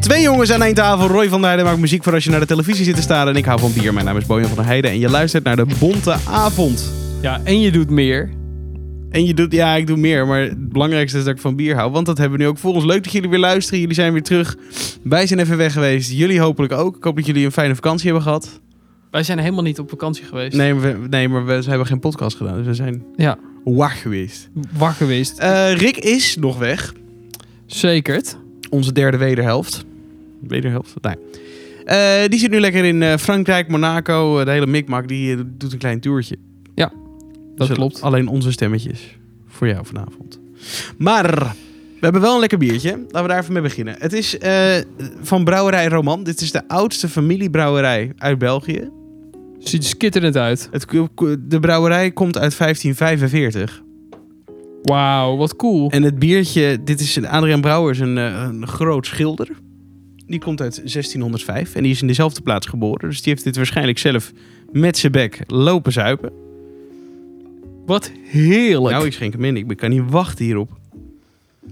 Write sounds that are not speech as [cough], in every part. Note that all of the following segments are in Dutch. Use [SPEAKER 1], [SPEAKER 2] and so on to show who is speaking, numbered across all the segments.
[SPEAKER 1] Twee jongens aan één tafel. Roy van der Heijden maakt muziek voor als je naar de televisie zit te staren. En ik hou van bier. Mijn naam is Bojan van der Heijden. En je luistert naar de Bonte Avond.
[SPEAKER 2] Ja, en je doet meer.
[SPEAKER 1] En je doet, ja, ik doe meer. Maar het belangrijkste is dat ik van bier hou. Want dat hebben we nu ook voor ons. Leuk dat jullie weer luisteren. Jullie zijn weer terug. Wij zijn even weg geweest. Jullie hopelijk ook. Ik hoop dat jullie een fijne vakantie hebben gehad.
[SPEAKER 2] Wij zijn helemaal niet op vakantie geweest.
[SPEAKER 1] Nee, maar we, nee, maar we hebben geen podcast gedaan. Dus we zijn
[SPEAKER 2] Ja,
[SPEAKER 1] wag geweest.
[SPEAKER 2] waar geweest.
[SPEAKER 1] Eh, Rick is nog weg.
[SPEAKER 2] Zeker. het.
[SPEAKER 1] Onze derde wederhelft. Wederhelft? Nee. Eh, die zit nu lekker in eh, Frankrijk, Monaco. Eh, De hele mikmak. Die eh, doet een klein toertje.
[SPEAKER 2] Ja, dat
[SPEAKER 1] Dus
[SPEAKER 2] klopt.
[SPEAKER 1] Alleen onze stemmetjes. Voor jou vanavond. Maar we hebben wel een lekker biertje. Laten we daar even mee beginnen. Het is eh, van Brouwerij Roman. Dit is de oudste familiebrouwerij uit België.
[SPEAKER 2] Ziet er skitterend uit.
[SPEAKER 1] Het, de brouwerij komt uit 1545.
[SPEAKER 2] Wauw, wat cool.
[SPEAKER 1] En het biertje, dit is Adriaan Brouwer, is een, eh, een groot schilder. Die komt uit 1605 en die is in dezelfde plaats geboren. Dus die heeft dit waarschijnlijk zelf met zijn bek lopen zuipen.
[SPEAKER 2] Wat heerlijk.
[SPEAKER 1] Nou, ik schenk hem in. Ik kan niet wachten hierop.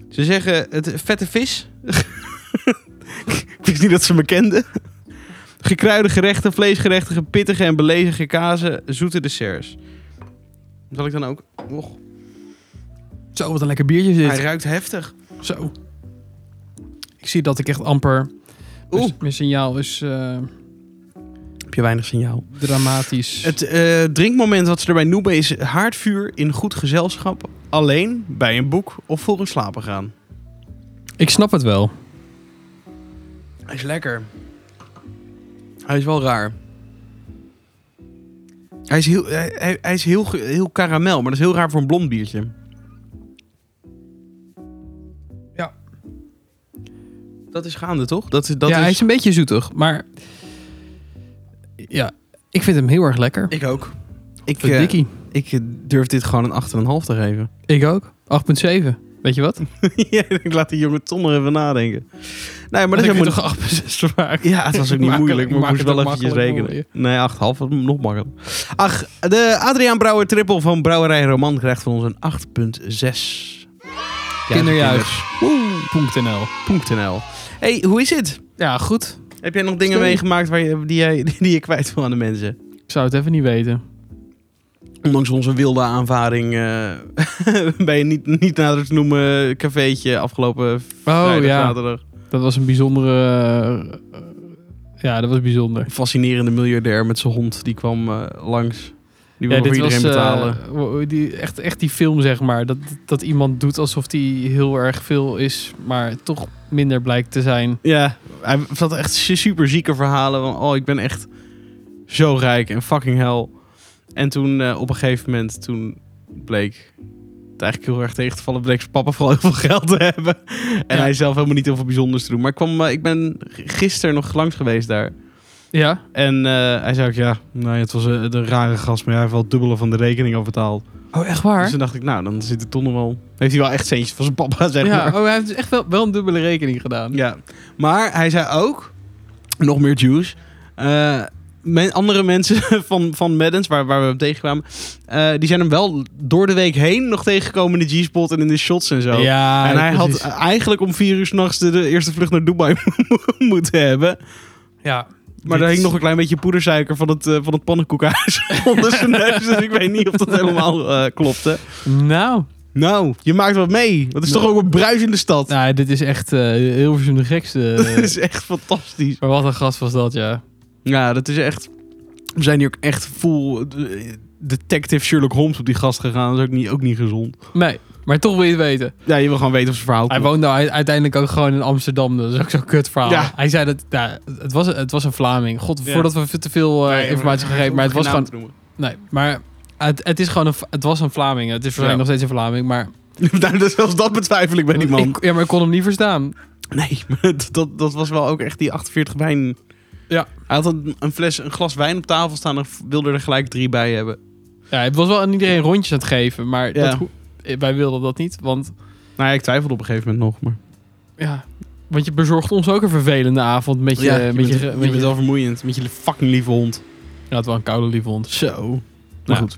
[SPEAKER 1] Ze zeggen het vette vis. [laughs] ik wist niet dat ze me kenden. Gekruide gerechten, vleesgerechtige, pittige en belezige kazen, zoete desserts. Zal ik dan ook... Och,
[SPEAKER 2] Zo, wat een lekker biertje
[SPEAKER 1] hij
[SPEAKER 2] zit.
[SPEAKER 1] ruikt heftig.
[SPEAKER 2] Zo. Ik zie dat ik echt amper...
[SPEAKER 1] Oeh.
[SPEAKER 2] Mijn- Mijn signaal is eh,
[SPEAKER 1] Heb je weinig signaal?
[SPEAKER 2] dramatisch.
[SPEAKER 1] Het eh, drinkmoment wat ze erbij noemen is haardvuur in goed gezelschap. Alleen, bij een boek of voor een slapen gaan.
[SPEAKER 2] Ik snap het wel.
[SPEAKER 1] Hij is lekker. Hij is wel raar. Hij is heel, hij, hij- hij is heel, ge- heel karamel, maar dat is heel raar voor een blond biertje.
[SPEAKER 2] Ja.
[SPEAKER 1] Dat is gaande, toch? Dat, is- dat
[SPEAKER 2] ja,
[SPEAKER 1] is...
[SPEAKER 2] hij is een beetje zoetig, maar... Ja, ik vind hem heel erg lekker.
[SPEAKER 1] Ik ook. Ik,
[SPEAKER 2] Wat
[SPEAKER 1] eh,
[SPEAKER 2] dikkie.
[SPEAKER 1] ik eh, durf dit gewoon een 8,5 te geven.
[SPEAKER 2] Ik ook. 8,7. Weet je wat?
[SPEAKER 1] [laughs] ja, ik laat die jonge Tom er even nadenken. Nee, maar
[SPEAKER 2] Maar
[SPEAKER 1] dat is
[SPEAKER 2] dan kun je
[SPEAKER 1] helemaal...
[SPEAKER 2] toch 8,6 maken?
[SPEAKER 1] Ja, het was ook niet moeilijk,
[SPEAKER 2] Makkelijk,
[SPEAKER 1] maar ik
[SPEAKER 2] maak
[SPEAKER 1] moest
[SPEAKER 2] het
[SPEAKER 1] wel
[SPEAKER 2] ook
[SPEAKER 1] eventjes
[SPEAKER 2] makkelijk
[SPEAKER 1] rekenen. Nee, 8,5, was nog makkelijker. Ach, de Adriaan Brouwer triple van Brouwerij Roman krijgt van ons een 8,6.
[SPEAKER 2] Kinderjuich.nl
[SPEAKER 1] Kinders.nl. hey, hoe is het?
[SPEAKER 2] Ja, goed.
[SPEAKER 1] Heb jij nog dingen
[SPEAKER 2] Sorry.
[SPEAKER 1] meegemaakt waar je, die, jij, [laughs] die je kwijt wil aan de mensen?
[SPEAKER 2] Ik zou het even niet weten.
[SPEAKER 1] Ondanks onze wilde aanvaring eh, [laughs] bij een niet, niet nader te noemen cafeetje afgelopen vrijdag,
[SPEAKER 2] Oh, ja.
[SPEAKER 1] zaterdag.
[SPEAKER 2] Dat was een bijzondere... eh, eh, ja, dat was bijzonder.
[SPEAKER 1] Een fascinerende miljardair met zijn hond, die kwam eh, langs. Die wil
[SPEAKER 2] ja,
[SPEAKER 1] voor iedereen
[SPEAKER 2] eh,
[SPEAKER 1] betalen.
[SPEAKER 2] wo- die, echt, echt die film, zeg maar. Dat, dat iemand doet alsof hij heel erg veel is, maar toch minder blijkt te zijn.
[SPEAKER 1] Ja, hij had echt su- super zieke verhalen. Van, oh, ik ben echt zo rijk en fucking hell. En toen eh, op een gegeven moment, toen bleek het eigenlijk heel erg tegen te vallen, bleek zijn papa vooral heel veel geld te hebben. En
[SPEAKER 2] Ja.
[SPEAKER 1] hij zelf helemaal niet heel veel bijzonders te doen. Maar ik, kwam, eh, ik ben g- gisteren nog langs geweest daar.
[SPEAKER 2] Ja,
[SPEAKER 1] En eh, hij zei ook, ja, nou, ja, het was een, een rare gast, maar hij heeft wel het dubbele van de rekening al betaald.
[SPEAKER 2] Oh, echt waar?
[SPEAKER 1] Dus toen dacht ik, nou, dan zit het toch nog wel... Heeft hij wel echt centjes van zijn papa, zeg
[SPEAKER 2] ja,
[SPEAKER 1] maar.
[SPEAKER 2] oh, hij heeft dus echt wel, wel een dubbele rekening gedaan.
[SPEAKER 1] Ja, maar hij zei ook, nog meer juice. eh, men- andere mensen [laughs] van, van Maddens, waar, waar we hem tegenkwamen, eh, die zijn hem wel door de week heen nog tegengekomen in de G-spot en in de shots en zo.
[SPEAKER 2] Ja,
[SPEAKER 1] en hij
[SPEAKER 2] precies.
[SPEAKER 1] had eigenlijk om vier uur s'nachts de, de eerste vlucht naar Dubai [laughs] moeten hebben.
[SPEAKER 2] Ja,
[SPEAKER 1] Maar
[SPEAKER 2] dit
[SPEAKER 1] daar hing
[SPEAKER 2] is-
[SPEAKER 1] nog een klein beetje poedersuiker van het, eh, van het pannenkoekhuis [laughs] onder zijn neus. Dus ik weet niet of dat helemaal eh, klopte.
[SPEAKER 2] Nou,
[SPEAKER 1] Nou, je maakt wat mee. Dat is
[SPEAKER 2] Nou.
[SPEAKER 1] toch ook een bruisende stad.
[SPEAKER 2] nou, dit is echt eh Hilversum de
[SPEAKER 1] [laughs]
[SPEAKER 2] gekste. eh,
[SPEAKER 1] Dat is echt fantastisch.
[SPEAKER 2] maar wat een gast was dat, ja.
[SPEAKER 1] Ja, dat is echt. We zijn hier ook echt full eh, detective Sherlock Holmes op die gast gegaan. Dat is ook niet, ook niet gezond.
[SPEAKER 2] Nee, maar toch wil je het weten.
[SPEAKER 1] Ja, je wil gewoon weten of ze verhaal
[SPEAKER 2] Hij
[SPEAKER 1] klopt.
[SPEAKER 2] woonde u- uiteindelijk ook gewoon in Amsterdam. Dat is ook zo'n kut verhaal.
[SPEAKER 1] Ja.
[SPEAKER 2] Hij zei dat... ja, het, was, het was een Vlaming. God,
[SPEAKER 1] Ja.
[SPEAKER 2] voordat we veel te veel eh,
[SPEAKER 1] Nee,
[SPEAKER 2] informatie
[SPEAKER 1] maar-
[SPEAKER 2] gegeven. Maar het was
[SPEAKER 1] geen naam
[SPEAKER 2] gewoon...
[SPEAKER 1] te noemen.
[SPEAKER 2] Nee, maar het, het is gewoon een, het was een Vlaming. Het is waarschijnlijk
[SPEAKER 1] Ja.
[SPEAKER 2] nog steeds een Vlaming, maar...
[SPEAKER 1] [laughs] Nou, dat- Zelfs dat betwijfel ik bij die man.
[SPEAKER 2] Ik, ja, maar ik kon hem niet verstaan.
[SPEAKER 1] [laughs] Nee, maar dat, dat was wel ook echt die 48 wijn.
[SPEAKER 2] Ja.
[SPEAKER 1] Hij had een, een fles, een glas wijn op tafel staan en wilde er gelijk drie bij hebben.
[SPEAKER 2] Ja, het was wel aan iedereen rondjes aan het geven, maar
[SPEAKER 1] Ja.
[SPEAKER 2] dat ho- eh, wij wilden dat niet, want...
[SPEAKER 1] Nou ja, ik twijfelde op een gegeven moment nog. Maar
[SPEAKER 2] Ja, want je bezorgde ons ook een vervelende avond met je...
[SPEAKER 1] Ja,
[SPEAKER 2] met je,
[SPEAKER 1] bent, eh, je
[SPEAKER 2] met je-
[SPEAKER 1] bent wel vermoeiend met je fucking lieve hond.
[SPEAKER 2] Ja, het was een koude lieve hond.
[SPEAKER 1] Zo. Maar
[SPEAKER 2] Ja.
[SPEAKER 1] goed.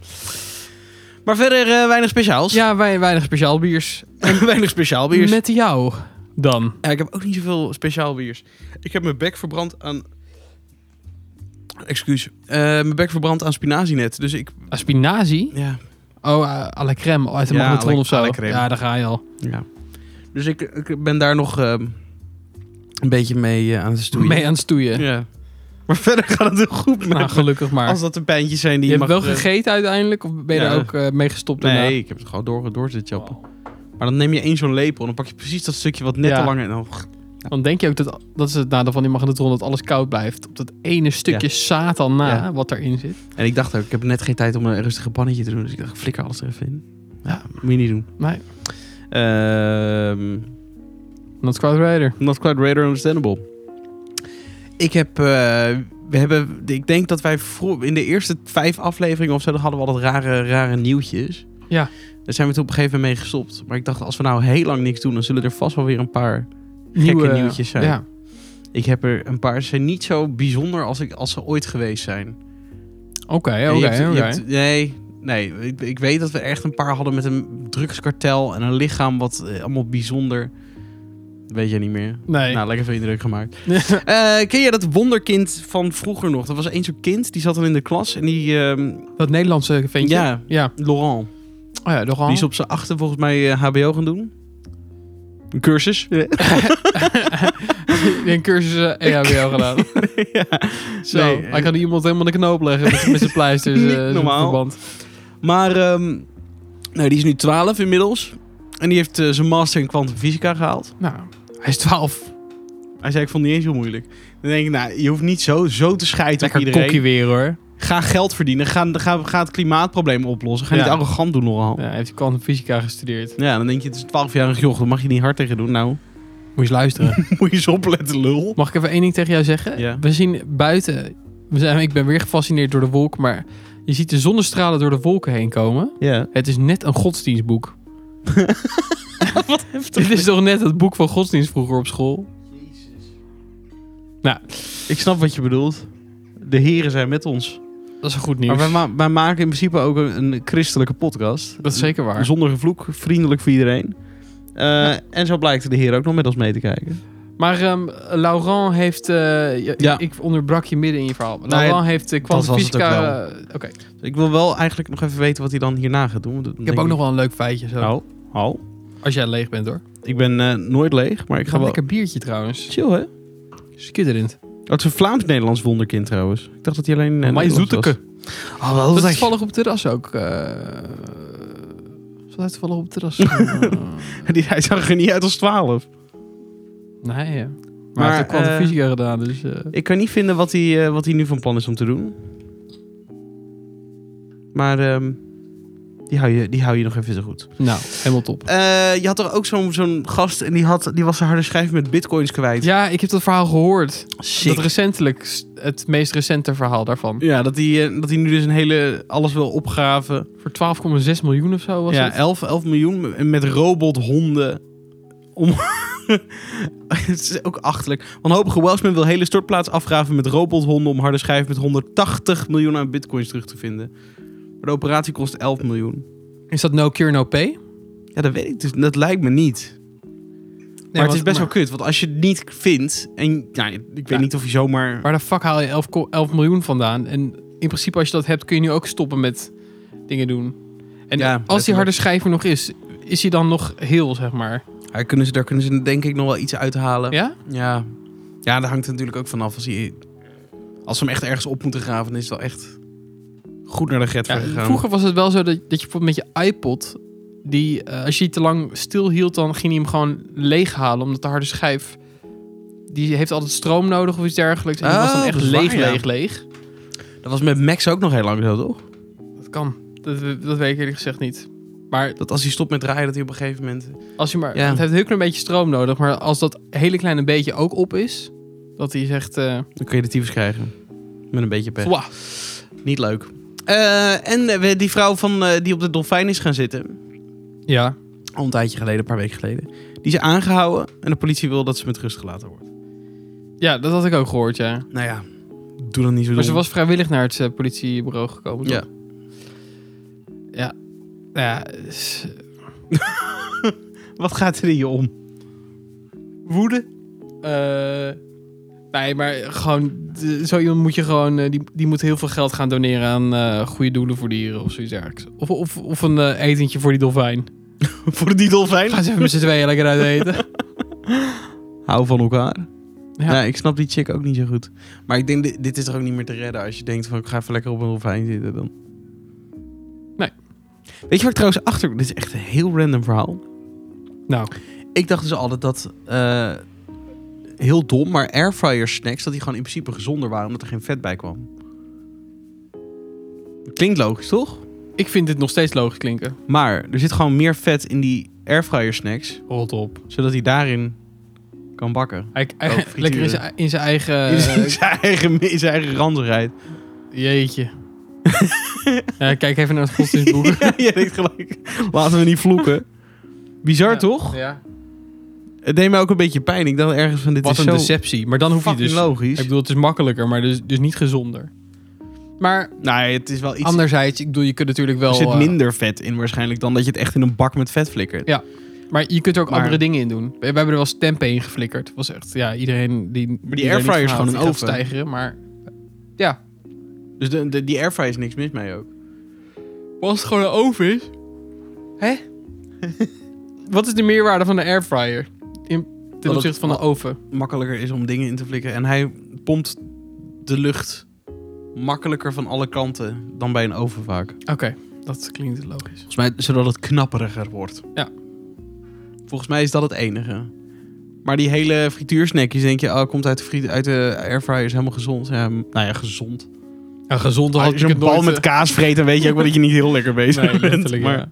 [SPEAKER 1] Maar verder eh, weinig speciaals. [laughs]
[SPEAKER 2] Ja, wij, weinig speciaal biers.
[SPEAKER 1] weinig speciaal biers.
[SPEAKER 2] Met jou. dan.
[SPEAKER 1] Ja, ik heb ook niet zoveel speciaal biers. Ik heb mijn bek verbrand aan... Excuus. Eh, mijn bek verbrand aan spinazie net. Dus ik...
[SPEAKER 2] Ah, spinazie?
[SPEAKER 1] Ja,
[SPEAKER 2] Oh, eh, à la crème. Uit de
[SPEAKER 1] Ja,
[SPEAKER 2] magnetron
[SPEAKER 1] à la-
[SPEAKER 2] of zo.
[SPEAKER 1] à la crème.
[SPEAKER 2] Ja, daar ga je al.
[SPEAKER 1] ja. Dus ik, ik ben daar nog ehm, een beetje mee eh, aan het stoeien.
[SPEAKER 2] Mee aan het stoeien.
[SPEAKER 1] Ja. Maar verder gaat het heel goed met
[SPEAKER 2] Nou,
[SPEAKER 1] me.
[SPEAKER 2] gelukkig maar.
[SPEAKER 1] Als dat de pijntjes zijn die
[SPEAKER 2] je
[SPEAKER 1] je,
[SPEAKER 2] hebt
[SPEAKER 1] mag...
[SPEAKER 2] wel
[SPEAKER 1] eh,
[SPEAKER 2] gegeten uiteindelijk? Of ben je
[SPEAKER 1] Ja.
[SPEAKER 2] daar ook eh, mee gestopt daarna?
[SPEAKER 1] Nee, ik heb het gewoon door, door zitten chappen.
[SPEAKER 2] Oh.
[SPEAKER 1] Maar dan neem je één zo'n lepel en dan pak je precies dat stukje wat net
[SPEAKER 2] Ja.
[SPEAKER 1] te lang... En dan...
[SPEAKER 2] Dan denk je ook dat... Dat is het nadeel van die magnetron, dat alles koud blijft. Op dat ene stukje satan na
[SPEAKER 1] Ja.
[SPEAKER 2] wat erin zit.
[SPEAKER 1] En ik dacht ook, ik heb net geen tijd om een rustige pannetje te doen. Dus ik dacht, ik flikker alles er even in.
[SPEAKER 2] Ja.
[SPEAKER 1] Moet je niet doen.
[SPEAKER 2] Nee.
[SPEAKER 1] Ehm...
[SPEAKER 2] Not Squad Rider.
[SPEAKER 1] Not quite radar understandable. Ik heb... eh, we hebben... Ik denk dat wij vro- in de eerste vijf afleveringen of zo... Dan hadden we altijd rare, rare nieuwtjes.
[SPEAKER 2] Ja.
[SPEAKER 1] Daar zijn we toen op een gegeven moment mee gestopt. Maar ik dacht, als we nou heel lang niks doen... Dan zullen er vast wel weer een paar...
[SPEAKER 2] Nieuwe
[SPEAKER 1] nieuwtjes zijn.
[SPEAKER 2] Ja.
[SPEAKER 1] Ik heb er een paar... Ze zijn niet zo bijzonder als, ik, als ze ooit geweest zijn.
[SPEAKER 2] Oké,
[SPEAKER 1] Ja,
[SPEAKER 2] oké,
[SPEAKER 1] je hebt- je
[SPEAKER 2] oké.
[SPEAKER 1] hebt- Nee, nee ik, ik weet dat we echt een paar hadden met een drugskartel... En een lichaam wat eh, allemaal bijzonder... Weet jij niet meer.
[SPEAKER 2] Nee.
[SPEAKER 1] Nou, lekker veel indruk
[SPEAKER 2] [laughs]
[SPEAKER 1] gemaakt. Eh, ken jij dat wonderkind van vroeger nog? Dat was eens zo'n kind, die zat dan in de klas en die... ehm,
[SPEAKER 2] dat Nederlandse ventje.
[SPEAKER 1] Ja,
[SPEAKER 2] Ja.
[SPEAKER 1] Laurent.
[SPEAKER 2] Oh ja, nogal.
[SPEAKER 1] Die is op zijn achter volgens mij eh, hbo gaan doen. Een cursus. Ja.
[SPEAKER 2] een cursus eh, EHBO gedaan.
[SPEAKER 1] [laughs]
[SPEAKER 2] Zo,
[SPEAKER 1] Nee, eh,
[SPEAKER 2] hij kan iemand helemaal de knoop leggen met, met zijn pleisters.
[SPEAKER 1] Niet
[SPEAKER 2] eh, zijn
[SPEAKER 1] normaal.
[SPEAKER 2] verband.
[SPEAKER 1] Maar ehm, nou, die is nu 12 inmiddels. En die heeft eh, zijn master in kwantumfysica gehaald.
[SPEAKER 2] Nou, hij is 12.
[SPEAKER 1] Hij zei, ik vond het niet eens heel moeilijk. Dan denk ik, nou, je hoeft niet zo, zo te scheiden op
[SPEAKER 2] Lekker
[SPEAKER 1] iedereen.
[SPEAKER 2] kokkie weer hoor.
[SPEAKER 1] Ga geld verdienen. Ga, ga, ga het klimaatprobleem oplossen. Ga
[SPEAKER 2] Ja.
[SPEAKER 1] niet arrogant doen, Laurent.
[SPEAKER 2] Ja, hij heeft kwantumfysica gestudeerd.
[SPEAKER 1] Ja, dan denk je, het is een 12-jarig joch. Daar mag je niet hard tegen doen. Nou, [laughs]
[SPEAKER 2] Moet je eens luisteren.
[SPEAKER 1] moet je eens opletten, lul.
[SPEAKER 2] [laughs] Mag ik even één ding tegen jou zeggen?
[SPEAKER 1] Ja.
[SPEAKER 2] We zien buiten... We zijn, ik ben weer gefascineerd door de wolk, maar je ziet de zonnestralen door de wolken heen komen.
[SPEAKER 1] Ja.
[SPEAKER 2] Het is net een
[SPEAKER 1] [laughs]
[SPEAKER 2] godsdienstboek. Dit is toch net het boek van godsdienst vroeger op school?
[SPEAKER 1] Ik snap wat je bedoelt. De heren zijn met ons.
[SPEAKER 2] Dat is een goed nieuws.
[SPEAKER 1] Maar wij, ma- wij maken in principe ook een, een christelijke podcast.
[SPEAKER 2] Dat is zeker waar.
[SPEAKER 1] Zonder gevloek, vriendelijk voor iedereen. Eh, En zo blijkt de heer ook nog met ons mee te kijken.
[SPEAKER 2] Maar ehm, Laurent heeft... eh, je-
[SPEAKER 1] Ja.
[SPEAKER 2] Ik onderbrak je midden in je verhaal. Laurent heeft de
[SPEAKER 1] was het ook
[SPEAKER 2] kwantumfysica... eh, Oké.
[SPEAKER 1] Ik wil wel eigenlijk nog even weten wat hij dan hierna gaat doen. want dat
[SPEAKER 2] Ik
[SPEAKER 1] denk
[SPEAKER 2] heb ook nog wel een leuk feitje zo.
[SPEAKER 1] Nou, al.
[SPEAKER 2] Als jij leeg bent hoor.
[SPEAKER 1] Ik ben eh, nooit leeg, maar ik ga
[SPEAKER 2] Ik ga
[SPEAKER 1] wel...
[SPEAKER 2] lekker biertje trouwens.
[SPEAKER 1] Chill, hè?
[SPEAKER 2] Skitterend.
[SPEAKER 1] Dat Oh, is een Vlaams-Nederlands wonderkind trouwens. Ik dacht dat hij alleen... in
[SPEAKER 2] Maar
[SPEAKER 1] Nederland was.
[SPEAKER 2] zoeteke.
[SPEAKER 1] Oh, wel,
[SPEAKER 2] Ah, Dat is
[SPEAKER 1] dat is
[SPEAKER 2] toevallig op het terras ook. eh Zat hij toevallig op het [laughs] terras? Eh,
[SPEAKER 1] [laughs] Die- Hij zag er niet uit als 12.
[SPEAKER 2] nee, ja. Maar,
[SPEAKER 1] Maar,
[SPEAKER 2] hij heeft ook
[SPEAKER 1] eh,
[SPEAKER 2] kwantumfysica gedaan, dus... eh,
[SPEAKER 1] Ik kan niet vinden wat hij, eh, wat hij nu van plan is om te doen. Maar ehm, die, hou je, die hou je nog even zo goed.
[SPEAKER 2] nou, helemaal top.
[SPEAKER 1] Eh, je had toch ook zo'n zo'n gast en die, had, die was zijn harde schijf met bitcoins kwijt.
[SPEAKER 2] Ja, ik heb dat verhaal gehoord.
[SPEAKER 1] Sick.
[SPEAKER 2] Dat recentelijk, s- het meest recente verhaal daarvan.
[SPEAKER 1] ja dat hij eh, dat hij nu dus een hele, alles wil opgraven.
[SPEAKER 2] Voor 12,6 miljoen of zo was
[SPEAKER 1] ja,
[SPEAKER 2] het.
[SPEAKER 1] 11, 11 miljoen en met robothonden. Om... [laughs] het is ook achterlijk. Wanhopige Welshman wil hele stortplaats afgraven met robothonden... om harde schijf met 180 miljoen aan bitcoins terug te vinden. Maar de operatie kost 11 miljoen.
[SPEAKER 2] Is dat no cure, no pay?
[SPEAKER 1] Ja, dat weet ik dus. Dat lijkt me niet. maar het is best wel kut. Want als je het niet vindt... En nou, ik weet
[SPEAKER 2] Ja.
[SPEAKER 1] niet of je zomaar...
[SPEAKER 2] Waar de fuck haal je 11, ko- 11 miljoen vandaan? En in principe, als je dat hebt, kun je nu ook stoppen met dingen doen. En
[SPEAKER 1] Ja,
[SPEAKER 2] als die
[SPEAKER 1] letterlijk.
[SPEAKER 2] harde schijver nog is, is hij dan nog heel, zeg maar?
[SPEAKER 1] Ja, kunnen ze, daar kunnen ze denk ik nog wel iets uithalen.
[SPEAKER 2] Ja?
[SPEAKER 1] Ja, ja daar hangt het natuurlijk ook vanaf. Als, hij, als ze hem echt ergens op moeten graven, dan is het wel echt goed naar de get
[SPEAKER 2] Ja,
[SPEAKER 1] gegaan.
[SPEAKER 2] vroeger was het wel zo dat, dat je bijvoorbeeld met je iPod, die, eh, als je die te lang stil hield, dan ging hij hem gewoon leeghalen. Omdat de harde schijf, die heeft altijd stroom nodig of iets dergelijks. En die was dan
[SPEAKER 1] Oh,
[SPEAKER 2] echt
[SPEAKER 1] dat is waar,
[SPEAKER 2] leeg,
[SPEAKER 1] ja.
[SPEAKER 2] leeg, leeg.
[SPEAKER 1] Dat was met Max ook nog heel lang zo, toch?
[SPEAKER 2] Dat kan. Dat, dat weet ik eerlijk gezegd niet. Maar
[SPEAKER 1] Dat als hij stopt met draaien, dat hij op een gegeven moment...
[SPEAKER 2] Als je maar,
[SPEAKER 1] Ja.
[SPEAKER 2] Het heeft heel klein beetje stroom nodig, maar als dat hele kleine beetje ook op is, dat hij zegt, eh
[SPEAKER 1] Dan kun je de tyfus krijgen. Met een beetje pech.
[SPEAKER 2] "Fwa."
[SPEAKER 1] Niet leuk. Eh, en eh, we- die vrouw van, eh, die op de dolfijn is gaan zitten...
[SPEAKER 2] Ja,
[SPEAKER 1] Al een tijdje geleden, een paar weken geleden. Die is aangehouden en de politie wil dat ze met rust gelaten wordt.
[SPEAKER 2] ja, dat had ik ook gehoord, ja.
[SPEAKER 1] Nou ja, doe dan niet zo
[SPEAKER 2] Maar ze
[SPEAKER 1] dom.
[SPEAKER 2] was vrijwillig naar het eh, politiebureau gekomen. toch?
[SPEAKER 1] Ja.
[SPEAKER 2] Ja. Nou ja, s-
[SPEAKER 1] Wat gaat er in je om?
[SPEAKER 2] woede. Eh, nee, maar gewoon, de- zo iemand moet je gewoon, eh, die, die moet heel veel geld gaan doneren aan eh, goede doelen voor dieren of zoiets dergelijks. Of, of, of een eh, etentje voor die dolfijn.
[SPEAKER 1] Voor die dolfijn.
[SPEAKER 2] Ga eens even met z'n tweeën lekker uit eten.
[SPEAKER 1] Hou van elkaar.
[SPEAKER 2] Ja.
[SPEAKER 1] Ja. ik snap die chick ook niet zo goed. Maar ik denk, dit, dit is toch ook niet meer te redden als je denkt van ik ga even lekker op een dolfijn zitten dan.
[SPEAKER 2] Nee.
[SPEAKER 1] Weet je waar ik trouwens achter... Dit is echt een heel random verhaal.
[SPEAKER 2] [laughs] Nou,
[SPEAKER 1] Ik dacht dus altijd dat... eh, heel dom, maar airfryer snacks... dat die gewoon in principe gezonder waren omdat er geen vet bij kwam. Klinkt logisch, toch?
[SPEAKER 2] ik vind dit nog steeds logisch klinken.
[SPEAKER 1] Maar er zit gewoon meer vet in die airfryer snacks...
[SPEAKER 2] Rot op.
[SPEAKER 1] zodat hij daarin kan bakken.
[SPEAKER 2] Hij, hij-
[SPEAKER 1] Oh, frituren.
[SPEAKER 2] lekker in zijn- in zijn eigen...
[SPEAKER 1] [laughs]
[SPEAKER 2] eh,
[SPEAKER 1] in zijn eigen, in zijn eigen ranzigheid.
[SPEAKER 2] [laughs] Jeetje. ja, kijk even naar het [laughs] godsdienstboek.
[SPEAKER 1] ja, je denkt gelijk, laten we niet vloeken. Bizar
[SPEAKER 2] Ja.
[SPEAKER 1] toch?
[SPEAKER 2] Ja.
[SPEAKER 1] Het deed mij ook een beetje pijn. Ik dacht ergens van dit
[SPEAKER 2] Wat
[SPEAKER 1] is
[SPEAKER 2] een
[SPEAKER 1] zo
[SPEAKER 2] deceptie. Maar dan hoef je
[SPEAKER 1] fucking
[SPEAKER 2] dus...
[SPEAKER 1] logisch.
[SPEAKER 2] Ik bedoel, het is makkelijker, maar dus, dus niet gezonder. Maar
[SPEAKER 1] nee, Nou, het is wel iets...
[SPEAKER 2] anderzijds, ik bedoel, je kunt natuurlijk wel...
[SPEAKER 1] er zit
[SPEAKER 2] eh,
[SPEAKER 1] minder vet in waarschijnlijk dan dat je het echt in een bak met vet flikkert.
[SPEAKER 2] maar je kunt er ook
[SPEAKER 1] Maar-
[SPEAKER 2] andere dingen in doen. We, we hebben er wel eens tempeh in geflikkerd. Het was echt, ja, iedereen die... Maar
[SPEAKER 1] airfryer is gewoon een oven.
[SPEAKER 2] Stijgeren, maar
[SPEAKER 1] Dus de, de- die airfryer is niks mis mee ook.
[SPEAKER 2] als het gewoon een oven is... [laughs] Hè? Wat is de meerwaarde van de airfryer? In, ten
[SPEAKER 1] het-
[SPEAKER 2] opzichte van een oven.
[SPEAKER 1] Makkelijker is om dingen in te flikken. En hij pompt de lucht makkelijker van alle kanten dan bij een oven vaak.
[SPEAKER 2] Oké, dat klinkt logisch.
[SPEAKER 1] Volgens mij zodat het knapperiger wordt.
[SPEAKER 2] Ja.
[SPEAKER 1] Volgens mij is dat het enige. Maar die hele frituursnackjes denk je, oh, komt uit de, friet, uit de airfryer, is helemaal gezond. Ja, m- nou ja, gezond.
[SPEAKER 2] Een gezonde had
[SPEAKER 1] Als
[SPEAKER 2] ik
[SPEAKER 1] je een
[SPEAKER 2] het nooit...
[SPEAKER 1] bal met
[SPEAKER 2] eh,
[SPEAKER 1] kaas vreet, dan weet je ook wel dat je niet heel lekker bezig
[SPEAKER 2] Nee,
[SPEAKER 1] bent.
[SPEAKER 2] letterlijk,
[SPEAKER 1] Maar,
[SPEAKER 2] ja.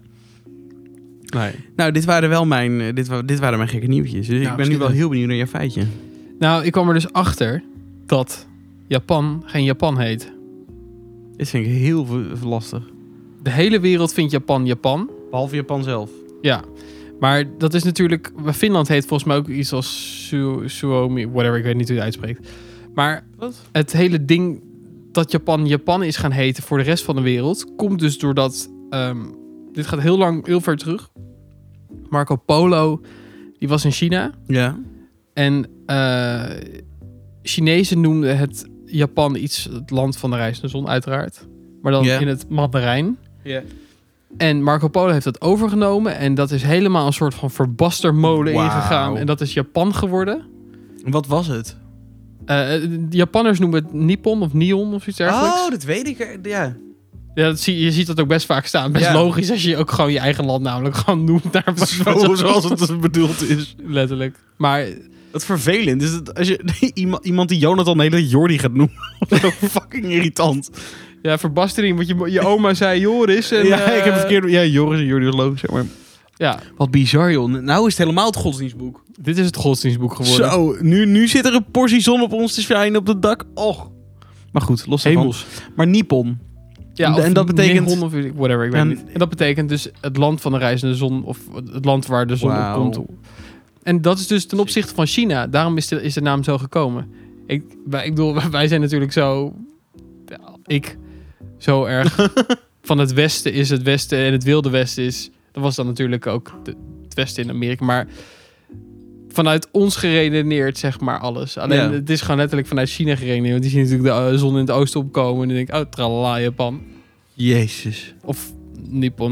[SPEAKER 2] Nee.
[SPEAKER 1] Nou, dit waren wel mijn, eh, dit, wa- dit waren mijn gekke nieuwtjes. Dus ik ben nu
[SPEAKER 2] Nou, misschien
[SPEAKER 1] wel
[SPEAKER 2] wel.
[SPEAKER 1] heel benieuwd naar je feitje.
[SPEAKER 2] Nou, ik kwam er dus achter dat Japan geen Japan heet.
[SPEAKER 1] Dit vind ik heel v- lastig.
[SPEAKER 2] De hele wereld vindt Japan Japan.
[SPEAKER 1] Behalve Japan zelf.
[SPEAKER 2] Ja. Maar dat is natuurlijk... Finland heet volgens mij ook iets als Su- Suomi... Whatever, ik weet niet hoe je het uitspreekt. Maar
[SPEAKER 1] Wat?
[SPEAKER 2] het hele ding dat Japan Japan is gaan heten voor de rest van de wereld... komt dus doordat... ehm, dit gaat heel lang, heel ver terug. Marco Polo, die was in China...
[SPEAKER 1] Ja.
[SPEAKER 2] En eh, Chinezen noemden het Japan iets, het land van de reizende zon uiteraard. Maar dan
[SPEAKER 1] Ja.
[SPEAKER 2] in het Mandarijn.
[SPEAKER 1] Ja.
[SPEAKER 2] En Marco Polo heeft dat overgenomen. En dat is helemaal een soort van verbastermolen
[SPEAKER 1] Wauw.
[SPEAKER 2] ingegaan. En dat is Japan geworden.
[SPEAKER 1] Wat was het?
[SPEAKER 2] Eh, de Japanners noemen het Nippon of Nion of iets dergelijks.
[SPEAKER 1] Oh, dat weet ik. er-
[SPEAKER 2] [laughs]
[SPEAKER 1] Ja.
[SPEAKER 2] Ja, dat zie, je ziet dat ook best vaak staan. Best
[SPEAKER 1] Ja.
[SPEAKER 2] logisch als je ook gewoon je eigen land namelijk gewoon noemt. Daar
[SPEAKER 1] [laughs]
[SPEAKER 2] [laughs]
[SPEAKER 1] Zo, Oh, zoals het bedoeld is.
[SPEAKER 2] Letterlijk. Maar
[SPEAKER 1] Dat is vervelend. Is dat als je [laughs] iemand, iemand die Jonathan de hele tijd Jordi gaat noemen. [laughs] Zo fucking irritant.
[SPEAKER 2] ja, verbastering. Want je, je oma zei Joris. En,
[SPEAKER 1] ja,
[SPEAKER 2] eh,
[SPEAKER 1] ik heb het verkeerd. Ja, Joris en Jordi is logisch, zeg maar.
[SPEAKER 2] Ja,
[SPEAKER 1] Wat bizar, joh. Nou is het helemaal het godsdienstboek.
[SPEAKER 2] dit is het godsdienstboek geworden.
[SPEAKER 1] Zo, nu, nu zit er een portie zon op ons te schijnen op het dak. Och. Maar goed, los daarvan.
[SPEAKER 2] Hemels.
[SPEAKER 1] Maar Nippon.
[SPEAKER 2] Ja,
[SPEAKER 1] En-
[SPEAKER 2] of
[SPEAKER 1] en dat betekent-
[SPEAKER 2] Nihon of whatever, ik weet
[SPEAKER 1] En-
[SPEAKER 2] niet. En dat betekent dus het land van de reizende zon, of het land waar de zon
[SPEAKER 1] Wauw.
[SPEAKER 2] op komt. En dat is dus ten opzichte van China. Daarom is de, is de naam zo gekomen. Ik, wij, ik bedoel, [laughs] wij zijn natuurlijk zo... ja, Ik zo
[SPEAKER 1] [laughs]
[SPEAKER 2] erg van het westen is het westen en het wilde westen is... Dat was dan natuurlijk ook de- het westen in Amerika, maar... Vanuit ons geredeneerd, zeg maar, alles. Alleen
[SPEAKER 1] Ja.
[SPEAKER 2] het is gewoon letterlijk vanuit China geredeneerd. Want die zien natuurlijk de eh, zon in het oosten opkomen. En dan denk ik, oh, tralala, Japan.
[SPEAKER 1] Jezus.
[SPEAKER 2] Of Nippon.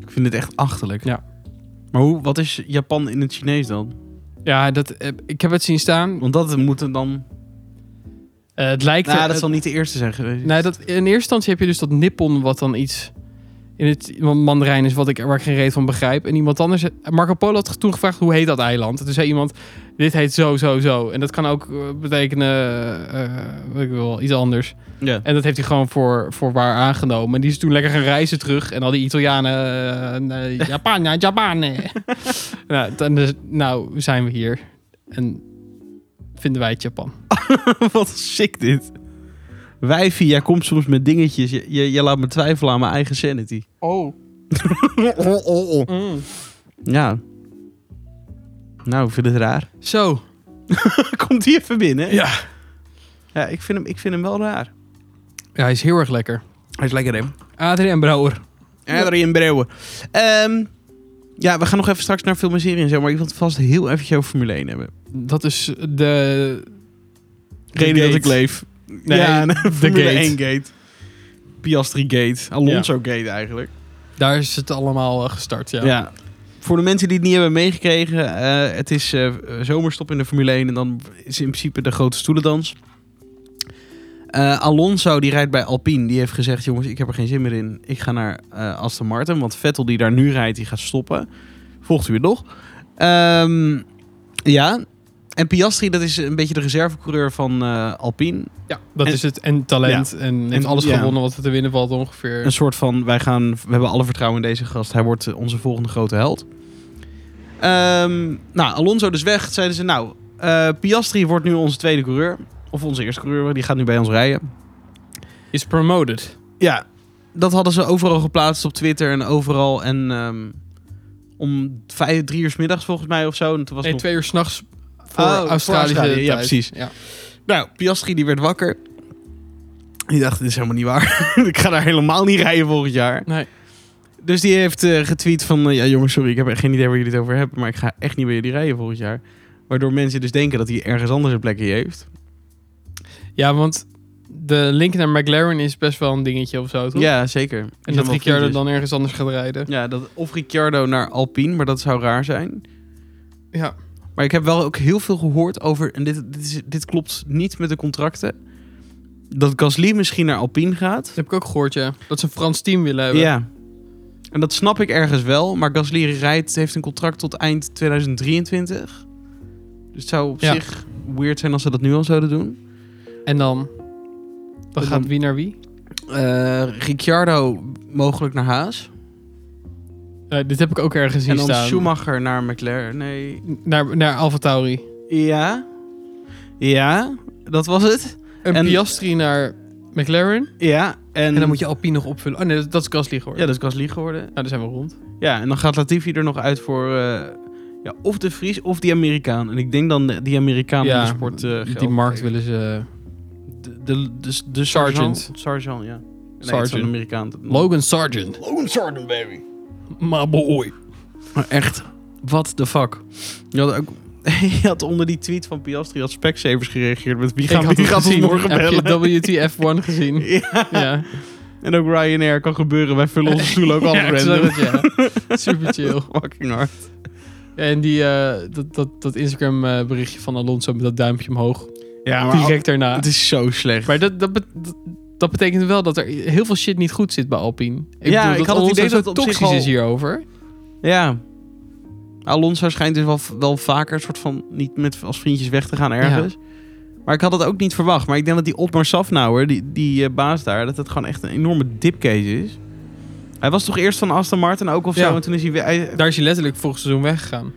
[SPEAKER 1] Ik vind het echt achterlijk.
[SPEAKER 2] Ja.
[SPEAKER 1] Maar hoe, wat is Japan in het Chinees dan?
[SPEAKER 2] Ja, dat, eh, ik heb het zien staan.
[SPEAKER 1] Want dat moet er dan...
[SPEAKER 2] Eh, het lijkt
[SPEAKER 1] Nou,
[SPEAKER 2] er-
[SPEAKER 1] dat zal niet de eerste zijn geweest.
[SPEAKER 2] Nee, dat, in eerste instantie heb je dus dat Nippon wat dan iets in het want Mandarijn is wat ik, waar ik geen reet van begrijp. En iemand anders, Marco Polo had toen gevraagd hoe heet dat eiland. En toen zei iemand, dit heet zo, zo, zo. En dat kan ook eh, betekenen, eh, weet ik wel, iets anders.
[SPEAKER 1] Ja.
[SPEAKER 2] En dat heeft hij gewoon voor, voor waar aangenomen. En die is toen lekker gaan reizen terug. En al die Italianen, eh, nee, Japan, ja, Japan. eh. nou, dan, dus- nou zijn we hier. En vinden wij het Japan.
[SPEAKER 1] [laughs] Wat sick dit. Wijfie, jij komt soms met dingetjes. Je, je, je laat me twijfelen aan mijn eigen
[SPEAKER 2] [laughs]
[SPEAKER 1] sanity.
[SPEAKER 2] Oh.
[SPEAKER 1] Ja. Nou, ik vind het raar. [laughs]
[SPEAKER 2] Zo.
[SPEAKER 1] komt hij even binnen?
[SPEAKER 2] Ja.
[SPEAKER 1] Ja, ik vind, hem, ik vind hem wel raar.
[SPEAKER 2] Ja, hij is heel erg lekker.
[SPEAKER 1] Hij is lekker, hè?
[SPEAKER 2] Adrien Brouwer.
[SPEAKER 1] Adrien Brouwer. Ehm, Ja, we gaan nog even straks naar film en serie en zo, maar ik wil het vast heel eventjes over Formule 1 hebben.
[SPEAKER 2] Dat is de...
[SPEAKER 1] Reden dat
[SPEAKER 2] gate.
[SPEAKER 1] ik leef.
[SPEAKER 2] Nee,
[SPEAKER 1] ja, [laughs]
[SPEAKER 2] de
[SPEAKER 1] Formule
[SPEAKER 2] gate.
[SPEAKER 1] 1 gate. Piastri gate. Alonso gate eigenlijk.
[SPEAKER 2] Daar is het allemaal eh, gestart, ja.
[SPEAKER 1] Ja. Voor de mensen die het niet hebben meegekregen, eh, het is eh, zomerstop in de Formule 1 en dan is in principe de grote stoelendans. Eh, Alonso die rijdt bij Alpine, die heeft gezegd: jongens, ik heb er geen zin meer in. Ik ga naar eh, Aston Martin, want Vettel die daar nu rijdt, die gaat stoppen. Volgt u het nog? Ehm, ja. En Piastri, dat is een beetje de reservecoureur van eh, Alpine.
[SPEAKER 2] Ja, dat
[SPEAKER 1] En-
[SPEAKER 2] is het. En talent. En heeft
[SPEAKER 1] En-
[SPEAKER 2] alles
[SPEAKER 1] ja.
[SPEAKER 2] gewonnen wat er te winnen valt ongeveer.
[SPEAKER 1] Een soort van, wij gaan, we hebben alle vertrouwen in deze gast. Hij wordt eh, onze volgende grote held. Ehm, nou, Alonso dus weg. Zeiden ze, nou, eh, Piastri wordt nu onze tweede coureur. Of onze eerste coureur, die gaat nu bij ons rijden.
[SPEAKER 2] Is promoted.
[SPEAKER 1] Ja, dat hadden ze overal geplaatst op Twitter en overal. En ehm, om vijf, drie uur 's middags volgens mij of zo. En toen was
[SPEAKER 2] Nee,
[SPEAKER 1] het
[SPEAKER 2] twee uur s'nachts voor
[SPEAKER 1] Oh, voor
[SPEAKER 2] Australische
[SPEAKER 1] Australië, ja,
[SPEAKER 2] tijd.
[SPEAKER 1] precies.
[SPEAKER 2] Ja.
[SPEAKER 1] nog... Nou, Piastri die werd wakker. Die dacht, dit is helemaal niet waar. [laughs] Ik ga daar helemaal niet rijden volgend jaar.
[SPEAKER 2] Nee.
[SPEAKER 1] Dus die heeft eh, getweet van... eh, ja jongens, sorry, ik heb echt geen idee waar jullie het over hebben... maar ik ga echt niet bij jullie rijden volgend jaar. Waardoor mensen dus denken dat hij ergens anders een plekje heeft.
[SPEAKER 2] ja, want de link naar McLaren is best wel een dingetje of zo, toch?
[SPEAKER 1] Ja, zeker.
[SPEAKER 2] En dat Ricciardo dan ergens anders gaat rijden.
[SPEAKER 1] Ja, dat, of Ricciardo naar Alpine, maar dat zou raar zijn.
[SPEAKER 2] Ja.
[SPEAKER 1] Maar ik heb wel ook heel veel gehoord over... en dit, dit, is, dit klopt niet met de contracten... dat Gasly misschien naar Alpine gaat.
[SPEAKER 2] Dat heb ik ook gehoord, ja. Dat ze een Frans team willen hebben.
[SPEAKER 1] Ja. En dat snap ik ergens wel, maar Gasly rijdt, heeft een contract tot eind 2023. Dus het zou op
[SPEAKER 2] Ja.
[SPEAKER 1] zich weird zijn als ze dat nu al zouden doen.
[SPEAKER 2] En dan? Dan
[SPEAKER 1] En
[SPEAKER 2] gaat
[SPEAKER 1] dan-
[SPEAKER 2] wie naar wie?
[SPEAKER 1] Eh, Ricciardo mogelijk naar Haas.
[SPEAKER 2] Eh, dit heb ik ook ergens
[SPEAKER 1] En
[SPEAKER 2] zien
[SPEAKER 1] dan
[SPEAKER 2] staan.
[SPEAKER 1] Schumacher naar McLaren. Nee.
[SPEAKER 2] Naar, naar Alfa Tauri.
[SPEAKER 1] Ja. Ja, dat was het.
[SPEAKER 2] Een
[SPEAKER 1] En-
[SPEAKER 2] Piastri naar McLaren.
[SPEAKER 1] Ja. En,
[SPEAKER 2] En dan moet je Alpine nog opvullen. Oh nee, dat- dat is Gasly geworden.
[SPEAKER 1] Ja, dat is Gasly geworden.
[SPEAKER 2] Nou, daar zijn we rond.
[SPEAKER 1] Ja, en dan gaat Latifi er nog uit voor... eh, ja, of de Fries of die Amerikaan. En ik denk dan de- die Amerikaan die de sport eh, geld
[SPEAKER 2] die markt
[SPEAKER 1] geeft.
[SPEAKER 2] willen ze...
[SPEAKER 1] De, de, de, de
[SPEAKER 2] Sergeant.
[SPEAKER 1] sergeant. Sergeant, ja. Nee,
[SPEAKER 2] Sergeant.
[SPEAKER 1] het is een Amerikaan.
[SPEAKER 2] Logan Sargent.
[SPEAKER 1] Logan Sergeant, baby.
[SPEAKER 2] Maar boy.
[SPEAKER 1] Maar echt, what the fuck. Je had, ook, [laughs] je had onder die tweet van Piastri had Specsavers gereageerd met wie
[SPEAKER 2] Ik had
[SPEAKER 1] gaat, wie
[SPEAKER 2] het
[SPEAKER 1] gaat ons
[SPEAKER 2] gezien.
[SPEAKER 1] morgen bellen.
[SPEAKER 2] Heb je WTF1 gezien?
[SPEAKER 1] [laughs] Ja.
[SPEAKER 2] ja.
[SPEAKER 1] En ook Ryanair kan gebeuren. Wij vullen onze
[SPEAKER 2] [laughs]
[SPEAKER 1] stoelen ook
[SPEAKER 2] Ja,
[SPEAKER 1] allemaal
[SPEAKER 2] ik zag
[SPEAKER 1] random.
[SPEAKER 2] het, ja. Super chill.
[SPEAKER 1] Fucking hard.
[SPEAKER 2] En die, eh, dat, dat, dat Instagram eh, berichtje van Alonso met dat duimpje omhoog.
[SPEAKER 1] Ja,
[SPEAKER 2] direct daarna.
[SPEAKER 1] het is zo slecht.
[SPEAKER 2] Maar dat, dat, bet- dat, dat betekent wel dat er heel veel shit niet goed zit bij Alpine. Ik
[SPEAKER 1] Ja,
[SPEAKER 2] bedoel,
[SPEAKER 1] ik had het
[SPEAKER 2] Alonso
[SPEAKER 1] idee
[SPEAKER 2] zo
[SPEAKER 1] dat het op zich
[SPEAKER 2] toxisch
[SPEAKER 1] al-
[SPEAKER 2] is hierover.
[SPEAKER 1] Ja. Alonso schijnt dus wel, wel vaker een soort van niet met als vriendjes weg te gaan ergens. Maar ik had dat ook niet verwacht. Maar ik denk dat die Otmar Safnauer, die, die eh, baas daar, dat het gewoon echt een enorme dipcase is. Hij was toch eerst van Aston Martin ook of zo?
[SPEAKER 2] Ja.
[SPEAKER 1] En toen is hij weer...
[SPEAKER 2] [laughs]
[SPEAKER 1] Hij, [laughs]
[SPEAKER 2] Daar is hij letterlijk vorig seizoen weggegaan.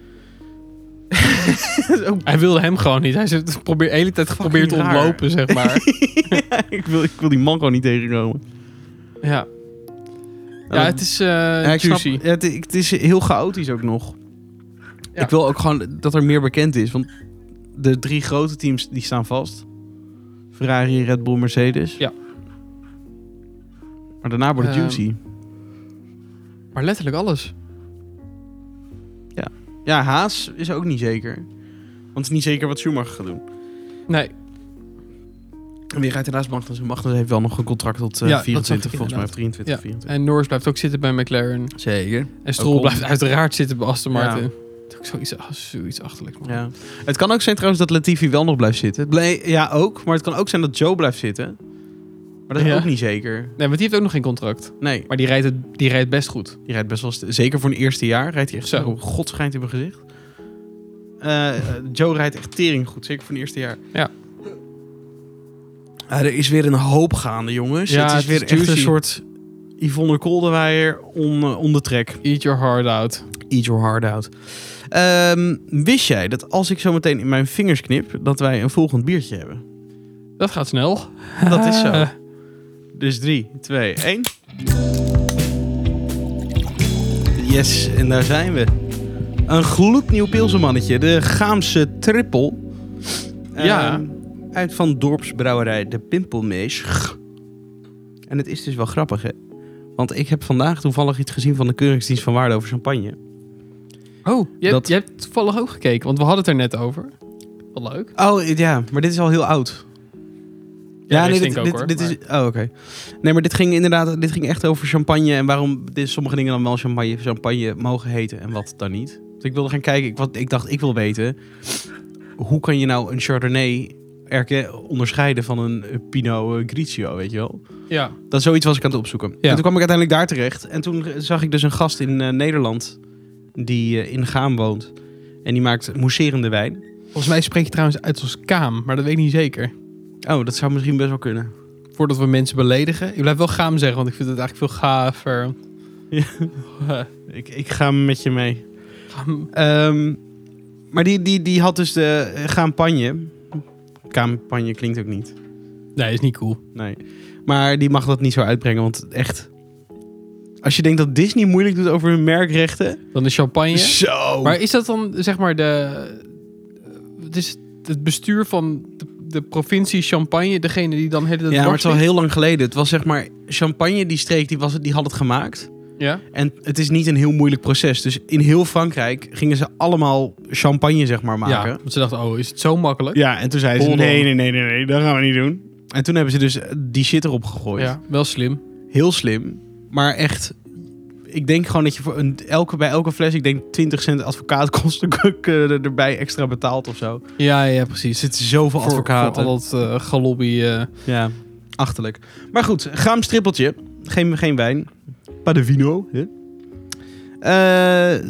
[SPEAKER 2] Hij wilde hem gewoon niet. Hij heeft het probeer, de hele tijd geprobeerd te
[SPEAKER 1] Fucking raar.
[SPEAKER 2] ontlopen,
[SPEAKER 1] [laughs]
[SPEAKER 2] zeg maar.
[SPEAKER 1] Ja, ik, wil, ik wil die man gewoon niet tegenkomen.
[SPEAKER 2] ja. ja,
[SPEAKER 1] Nou,
[SPEAKER 2] het is eh,
[SPEAKER 1] ja, ik snap-
[SPEAKER 2] juicy.
[SPEAKER 1] ja, het, het is heel chaotisch ook nog.
[SPEAKER 2] Ja.
[SPEAKER 1] Ik wil ook gewoon dat er meer bekend is. Want de drie grote teams die staan vast. Ferrari, Red Bull, Mercedes.
[SPEAKER 2] Ja.
[SPEAKER 1] Maar daarna wordt het
[SPEAKER 2] Ehm.
[SPEAKER 1] juicy.
[SPEAKER 2] Maar letterlijk alles.
[SPEAKER 1] Ja, Haas is ook niet zeker. Want het is niet zeker wat Schumacher gaat doen.
[SPEAKER 2] Nee,
[SPEAKER 1] En wie rijdt er naast Magnussen? Magnussen heeft wel nog een contract tot eh,
[SPEAKER 2] Ja, dat
[SPEAKER 1] 24,
[SPEAKER 2] zag ik
[SPEAKER 1] volgens mij. Of 23,
[SPEAKER 2] Ja.
[SPEAKER 1] 24.
[SPEAKER 2] en Norris blijft ook zitten bij McLaren.
[SPEAKER 1] Zeker.
[SPEAKER 2] En Stroll
[SPEAKER 1] Ocon.
[SPEAKER 2] blijft uiteraard zitten bij Aston
[SPEAKER 1] Ja.
[SPEAKER 2] Martin. Dat is ook zoiets, ah, zoiets achterlijks, man.
[SPEAKER 1] Ja. Het kan ook zijn trouwens dat Latifi wel nog blijft zitten. Het blij- ja, ook. Maar het kan ook zijn dat Joe blijft zitten. Maar dat is
[SPEAKER 2] Ja.
[SPEAKER 1] ook niet zeker.
[SPEAKER 2] Nee, want die heeft ook nog geen contract.
[SPEAKER 1] Nee,
[SPEAKER 2] Maar die rijdt, het, die rijdt best goed.
[SPEAKER 1] die rijdt best wel... st- Zeker voor een eerste jaar rijdt hij echt
[SPEAKER 2] Zo.
[SPEAKER 1] zo. God schijnt in mijn gezicht. Eh, eh, Joe rijdt echt tering goed. Zeker voor een eerste jaar.
[SPEAKER 2] Ja.
[SPEAKER 1] Ah, er is weer een hoop gaande, jongens.
[SPEAKER 2] Ja,
[SPEAKER 1] het is
[SPEAKER 2] Dus het
[SPEAKER 1] weer
[SPEAKER 2] is
[SPEAKER 1] echt een
[SPEAKER 2] juicy.
[SPEAKER 1] soort Yvonne Kolderweijer on, eh, on the track.
[SPEAKER 2] Eat your heart out.
[SPEAKER 1] Eat your heart out. Ehm, wist jij dat als ik zo meteen in mijn vingers knip... dat wij een volgend biertje hebben?
[SPEAKER 2] Dat gaat snel.
[SPEAKER 1] Dat is zo. Dus 3, 2, 1. Yes, en daar zijn we. Een gloednieuw pilsenmannetje, de Gaamse Trippel.
[SPEAKER 2] Ja.
[SPEAKER 1] Ehm, uit van dorpsbrouwerij De Pimpelmees. En het is dus wel grappig, hè? Want ik heb vandaag toevallig iets gezien van de Keuringsdienst van Waarde over champagne.
[SPEAKER 2] Oh, je, hebt-
[SPEAKER 1] Dat-
[SPEAKER 2] je hebt toevallig ook gekeken, want we hadden het er net over. Wat leuk.
[SPEAKER 1] Oh, ja, maar dit is al heel oud.
[SPEAKER 2] Ja, deze
[SPEAKER 1] dit,
[SPEAKER 2] denk ik ook,
[SPEAKER 1] dit,
[SPEAKER 2] hoor,
[SPEAKER 1] dit
[SPEAKER 2] maar-
[SPEAKER 1] is... Oh, oké. Nee, maar dit ging inderdaad dit ging echt over champagne en waarom dit, sommige dingen dan wel champagne, champagne mogen heten en wat dan niet. Dus ik wilde gaan kijken, ik, wat, ik dacht, ik wil weten, hoe kan je nou een Chardonnay erken, onderscheiden van een eh, Pinot eh, Grigio, weet je wel?
[SPEAKER 2] Ja.
[SPEAKER 1] Dat zoiets was ik aan het opzoeken. En toen kwam ik uiteindelijk daar terecht. En toen zag ik dus een gast in eh, Nederland die eh, in Gaam woont. En die maakt mousserende wijn.
[SPEAKER 2] Volgens mij spreek je trouwens uit als Kaam, maar dat weet ik niet zeker.
[SPEAKER 1] Oh, dat zou misschien best wel kunnen.
[SPEAKER 2] Voordat we mensen beledigen. Ik blijf wel Gaam zeggen, want ik vind het eigenlijk veel gaver.
[SPEAKER 1] Ja.
[SPEAKER 2] [laughs] Eh,
[SPEAKER 1] Ik, ik ga met je mee.
[SPEAKER 2] Gaam.
[SPEAKER 1] Ehm, maar die, die, die had dus de eh, champagne. Campagne klinkt ook niet.
[SPEAKER 2] Nee, is niet cool.
[SPEAKER 1] Nee. Maar die mag dat niet zo uitbrengen, want echt... Als je denkt dat Disney moeilijk doet over hun merkrechten...
[SPEAKER 2] Dan de champagne. [laughs]
[SPEAKER 1] Zo!
[SPEAKER 2] Maar is dat dan, zeg maar, de... eh, Het is het bestuur van de, de provincie Champagne, degene die dan hele
[SPEAKER 1] ja, maar het is al heel lang geleden. Het was zeg maar... Champagne, die streek, die, was, het- die had het gemaakt.
[SPEAKER 2] Ja?
[SPEAKER 1] En het is niet een heel moeilijk proces. Dus in heel Frankrijk gingen ze allemaal champagne, zeg maar,
[SPEAKER 2] ja,
[SPEAKER 1] maken.
[SPEAKER 2] want ze dachten, oh, is het zo makkelijk?
[SPEAKER 1] Ja, en toen zeiden ze,
[SPEAKER 2] Hold on.
[SPEAKER 1] nee, nee, nee, nee, nee, dat gaan we niet doen. En toen hebben ze dus die shit erop gegooid.
[SPEAKER 2] Ja, wel slim.
[SPEAKER 1] Heel slim, maar echt... Ik denk gewoon dat je voor een, elke, bij elke fles, ik denk 20 cent advocaatkosten [laughs] k- k- er- erbij extra betaalt of zo.
[SPEAKER 2] Ja, ja,
[SPEAKER 1] Er
[SPEAKER 2] precies.
[SPEAKER 1] zitten zoveel
[SPEAKER 2] Voor,
[SPEAKER 1] advocaten.
[SPEAKER 2] voor al dat eh, galobby. eh,
[SPEAKER 1] Ja, achterlijk. Maar goed, Gaam strippeltje. Geen, geen wijn. Padavino. Hè? Eh,